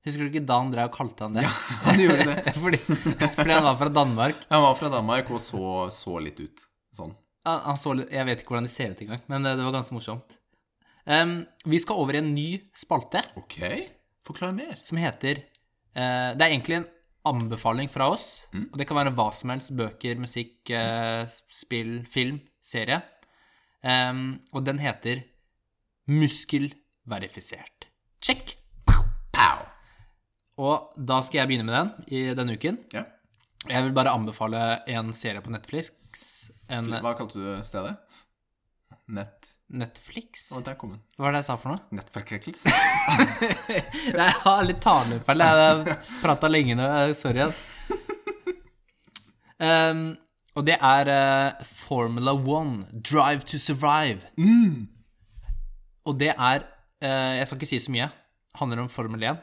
[SPEAKER 1] Husker du ikke da han drev og kalte han det?
[SPEAKER 2] Han gjorde det.
[SPEAKER 1] fordi, fordi han var fra Danmark.
[SPEAKER 2] Han var fra Danmark og så, så litt ut sånn.
[SPEAKER 1] Han, han så, litt- jeg vet ikke hvordan de ser ut engang, men eh, det var ganske morsomt. Em, vi skal over i en ny spalte
[SPEAKER 2] Ok, forklar mer.
[SPEAKER 1] som heter eh, Det er egentlig en anbefaling fra oss, og det kan være hva som helst. Bøker, musikk, eh, spill, film, serie. Em, og den heter Muskelverifisert. Check!
[SPEAKER 2] Pow!
[SPEAKER 1] Og da skal jeg begynne med den i denne uken.
[SPEAKER 2] Ja.
[SPEAKER 1] Jeg vil bare anbefale en serie på Netflix. En
[SPEAKER 2] Hva kalte du stedet? Nett...
[SPEAKER 1] Netflix?
[SPEAKER 2] Å, der kom den.
[SPEAKER 1] Hva var det jeg sa for noe?
[SPEAKER 2] Nettforkrekkelse.
[SPEAKER 1] Nei, jeg har litt talefeil. Jeg prata lenge nå. Eh, Sorry, ass. Ehm, og det er eh, Formula One, Drive to Survive. Og det er eh, Jeg skal ikke si så mye. Handler om Formel 1.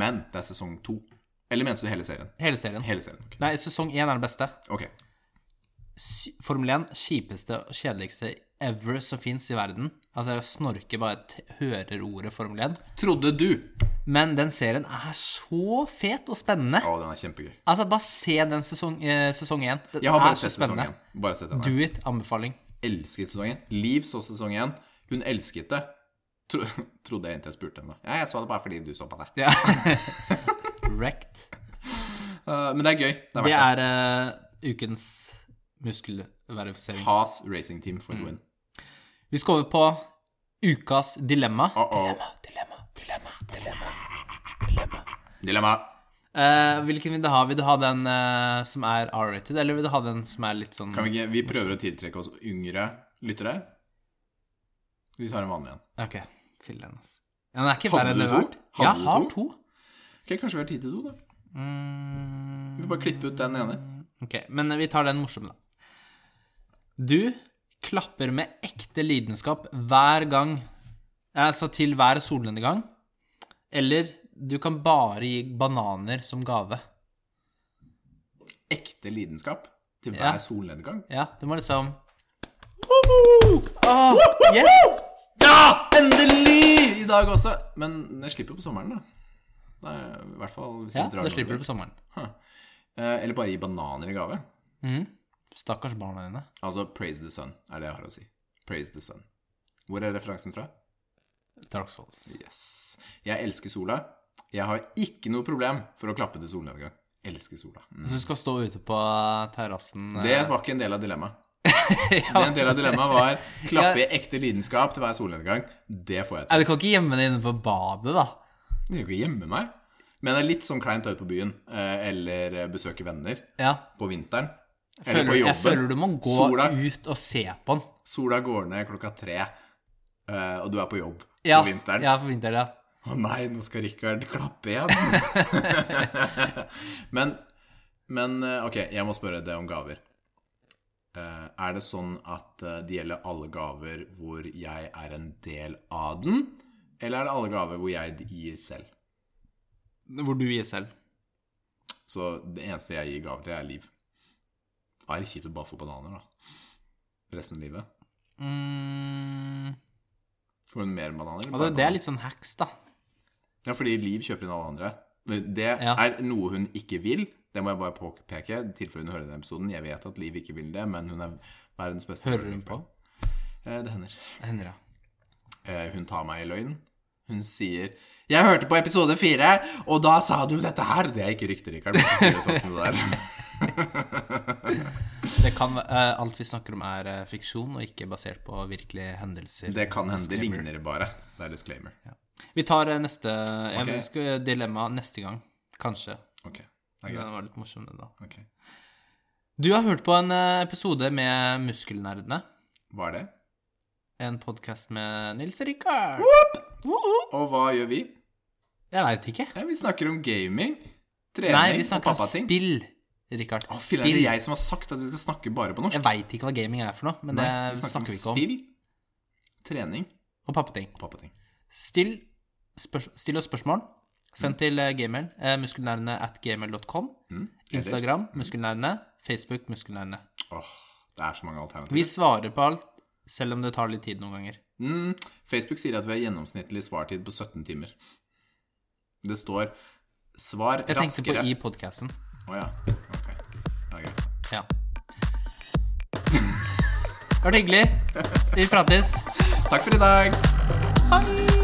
[SPEAKER 2] Men det er sesong to. Eller mente du hele serien?
[SPEAKER 1] Hele serien.
[SPEAKER 2] Hele serien. ok.
[SPEAKER 1] Nei, sesong 1 er den beste.
[SPEAKER 2] Ok.
[SPEAKER 1] sy- Formel 1 kjipeste og kjedeligste ever som fins i verden. Altså, jeg snorker bare t hører ordet Formel 1.
[SPEAKER 2] Trodde du!
[SPEAKER 1] Men den serien er så fet og spennende.
[SPEAKER 2] Å, den er kjempegøy.
[SPEAKER 1] Altså, bare se den sesong, eh, sesong 1. Den
[SPEAKER 2] Jeg har bare
[SPEAKER 1] er så
[SPEAKER 2] sett sesong
[SPEAKER 1] spennende.
[SPEAKER 2] én. Bare sett den.
[SPEAKER 1] Do it. Anbefaling.
[SPEAKER 2] elsket sesong 1. Liv så sesong 1. Hun elsket det. Tro, trodde jeg inntil jeg spurte henne. Ja, jeg så det bare fordi du så på det.
[SPEAKER 1] Ja. Wrecked.
[SPEAKER 2] Eh, men det er gøy.
[SPEAKER 1] Det
[SPEAKER 2] Det er verdt det.
[SPEAKER 1] er eh, ukens muskelverifisering.
[SPEAKER 2] Has Racing Team
[SPEAKER 1] Mm.
[SPEAKER 2] for the win.
[SPEAKER 1] Vi skal over på ukas dilemma.
[SPEAKER 2] Uh-oh.
[SPEAKER 1] Dilemma, dilemma, dilemma, dilemma.
[SPEAKER 2] Dilemma.
[SPEAKER 1] Eh, hvilken vil du ha? Vil du ha den eh, som er R-rated, eller vil du ha den som er litt sånn
[SPEAKER 2] Kan vi ikke Vi prøver å tiltrekke oss yngre lyttere. Vi tar en vanlig en.
[SPEAKER 1] Ok, fyll den, ass. Ja, den er ikke
[SPEAKER 2] Hadde
[SPEAKER 1] verre enn
[SPEAKER 2] du
[SPEAKER 1] det
[SPEAKER 2] to?
[SPEAKER 1] vært.
[SPEAKER 2] Hadde
[SPEAKER 1] Ja,
[SPEAKER 2] du
[SPEAKER 1] har
[SPEAKER 2] to?
[SPEAKER 1] to.
[SPEAKER 2] Ok, Kanskje vi har tid til to, da.
[SPEAKER 1] Mm,
[SPEAKER 2] Vi får bare klippe ut den ene.
[SPEAKER 1] ok, men vi tar den morsomme, da. Du klapper med ekte lidenskap hver gang, altså til hver solnedgang, eller du kan bare gi bananer som gave.
[SPEAKER 2] Ekte lidenskap til
[SPEAKER 1] Ja.
[SPEAKER 2] hver solnedgang.
[SPEAKER 1] Ja, du må liksom Åh, yes!
[SPEAKER 2] Ja! Endelig! I dag også. Men jeg slipper jo på sommeren, da. Det er, I hvert fall hvis
[SPEAKER 1] Ja,
[SPEAKER 2] jeg drar
[SPEAKER 1] da slipper
[SPEAKER 2] nordover.
[SPEAKER 1] du på sommeren.
[SPEAKER 2] Eh, Eller bare gi bananer i gave.
[SPEAKER 1] Mhm. Stakkars barna dine.
[SPEAKER 2] Altså Praise the Sun er det jeg har å si. Praise the Sun. Hvor er referansen fra?
[SPEAKER 1] Dark Souls.
[SPEAKER 2] Yes. Jeg elsker sola. Jeg har ikke noe problem for å klappe til solnedgang. Elsker sola. Mm.
[SPEAKER 1] Så du skal stå ute på terrassen eh,
[SPEAKER 2] Det var ikke en del av dilemmaet. En del av dilemmaet var klappe i ekte lidenskap til hver solnedgang. Det får jeg
[SPEAKER 1] Nei,
[SPEAKER 2] til.
[SPEAKER 1] Du kan ikke gjemme deg inne på badet, da.
[SPEAKER 2] Jeg trenger ikke gjemme meg. Men det er litt sånn kleint ute på byen, eh, eller eh, besøke venner
[SPEAKER 1] Ja.
[SPEAKER 2] på vinteren. Eller
[SPEAKER 1] Føler,
[SPEAKER 2] på
[SPEAKER 1] jeg føler
[SPEAKER 2] jobben.
[SPEAKER 1] du må gå
[SPEAKER 2] Sola.
[SPEAKER 1] ut og se på den.
[SPEAKER 2] Sola går ned klokka tre, eh, og du er på jobb
[SPEAKER 1] Ja,
[SPEAKER 2] på vinteren.
[SPEAKER 1] Ja, på vinteren, ja.
[SPEAKER 2] Å nei, nå skal Richard klappe igjen. men, men eh, ok, jeg må spørre deg om gaver. Eh, Er det sånn at eh, det gjelder alle gaver hvor jeg er en del av den? Eller er det alle gaver hvor jeg gir selv?
[SPEAKER 1] Hvor du gir selv.
[SPEAKER 2] Så det eneste jeg gir gave til, er liv. Da er det kjipt å bare få bananer, da. Resten av livet.
[SPEAKER 1] Mm.
[SPEAKER 2] Får hun mer bananer?
[SPEAKER 1] Og det, det er litt sånn hacks, da.
[SPEAKER 2] Ja, fordi Liv kjøper inn alle andre. Men Det
[SPEAKER 1] Ja.
[SPEAKER 2] er noe hun ikke vil. Det må jeg bare påpeke, i tilfelle hun hører den episoden. Jeg vet at Liv ikke vil det, men hun er verdens beste
[SPEAKER 1] Hører hun på?
[SPEAKER 2] Eh, Det hender.
[SPEAKER 1] Henry, ja.
[SPEAKER 2] Eh, Hun tar meg i løgn. Hun sier 'Jeg hørte på episode fire, og da sa du dette her.' Det er ikke riktig, Rikard. men ikke si det Sånn som det der.
[SPEAKER 1] Det kan, væ- eh, alt vi snakker om, er eh, fiksjon og ikke basert på virkelige hendelser.
[SPEAKER 2] Det kan hende. Det ligner bare. Det er disclaimer.
[SPEAKER 1] Vi tar eh, neste jeg
[SPEAKER 2] Ok.
[SPEAKER 1] vil skulle- dilemma neste gang. Kanskje.
[SPEAKER 2] Ok. Det er
[SPEAKER 1] Den
[SPEAKER 2] greit.
[SPEAKER 1] var litt morsom, den, da.
[SPEAKER 2] Ok.
[SPEAKER 1] Du har hørt på en eh, episode med Muskelnerdene.
[SPEAKER 2] Hva er det?
[SPEAKER 1] En podkast med Nils Rikard. Woop!
[SPEAKER 2] Og hva gjør vi?
[SPEAKER 1] Jeg veit ikke.
[SPEAKER 2] Ja, vi snakker om gaming,
[SPEAKER 1] Nei,
[SPEAKER 2] trening
[SPEAKER 1] vi
[SPEAKER 2] og
[SPEAKER 1] snakker om
[SPEAKER 2] pappating.
[SPEAKER 1] spill, Rikard.
[SPEAKER 2] Å, filler'n,
[SPEAKER 1] Spill.
[SPEAKER 2] det er jeg som har sagt at vi skal snakke bare på norsk.
[SPEAKER 1] Jeg veit ikke hva gaming er for noe, men det
[SPEAKER 2] Nei,
[SPEAKER 1] snakker, vi ikke om.
[SPEAKER 2] spill, trening
[SPEAKER 1] Og pappeting.
[SPEAKER 2] og pappating.
[SPEAKER 1] Still, spørs still oss spørsmål. Send til eh, gmail. Eh, muskelnerdene at gmail.com.
[SPEAKER 2] Mm. eller-
[SPEAKER 1] Instagram muskelnerdene. Facebook muskelnerdene.
[SPEAKER 2] Åh, det er så mange alternativer.
[SPEAKER 1] Vi svarer på alt, selv om det tar litt tid noen ganger.
[SPEAKER 2] Mm, Facebook sier at vi har gjennomsnittlig svartid på 17 timer. Det står 'svar
[SPEAKER 1] Jeg tenkte på
[SPEAKER 2] raskere'.
[SPEAKER 1] i podkasten.
[SPEAKER 2] Å ja. Ok. Ja, greit.
[SPEAKER 1] Ja. Det har vært hyggelig. Vi prates.
[SPEAKER 2] Takk for i dag.
[SPEAKER 1] Ha det!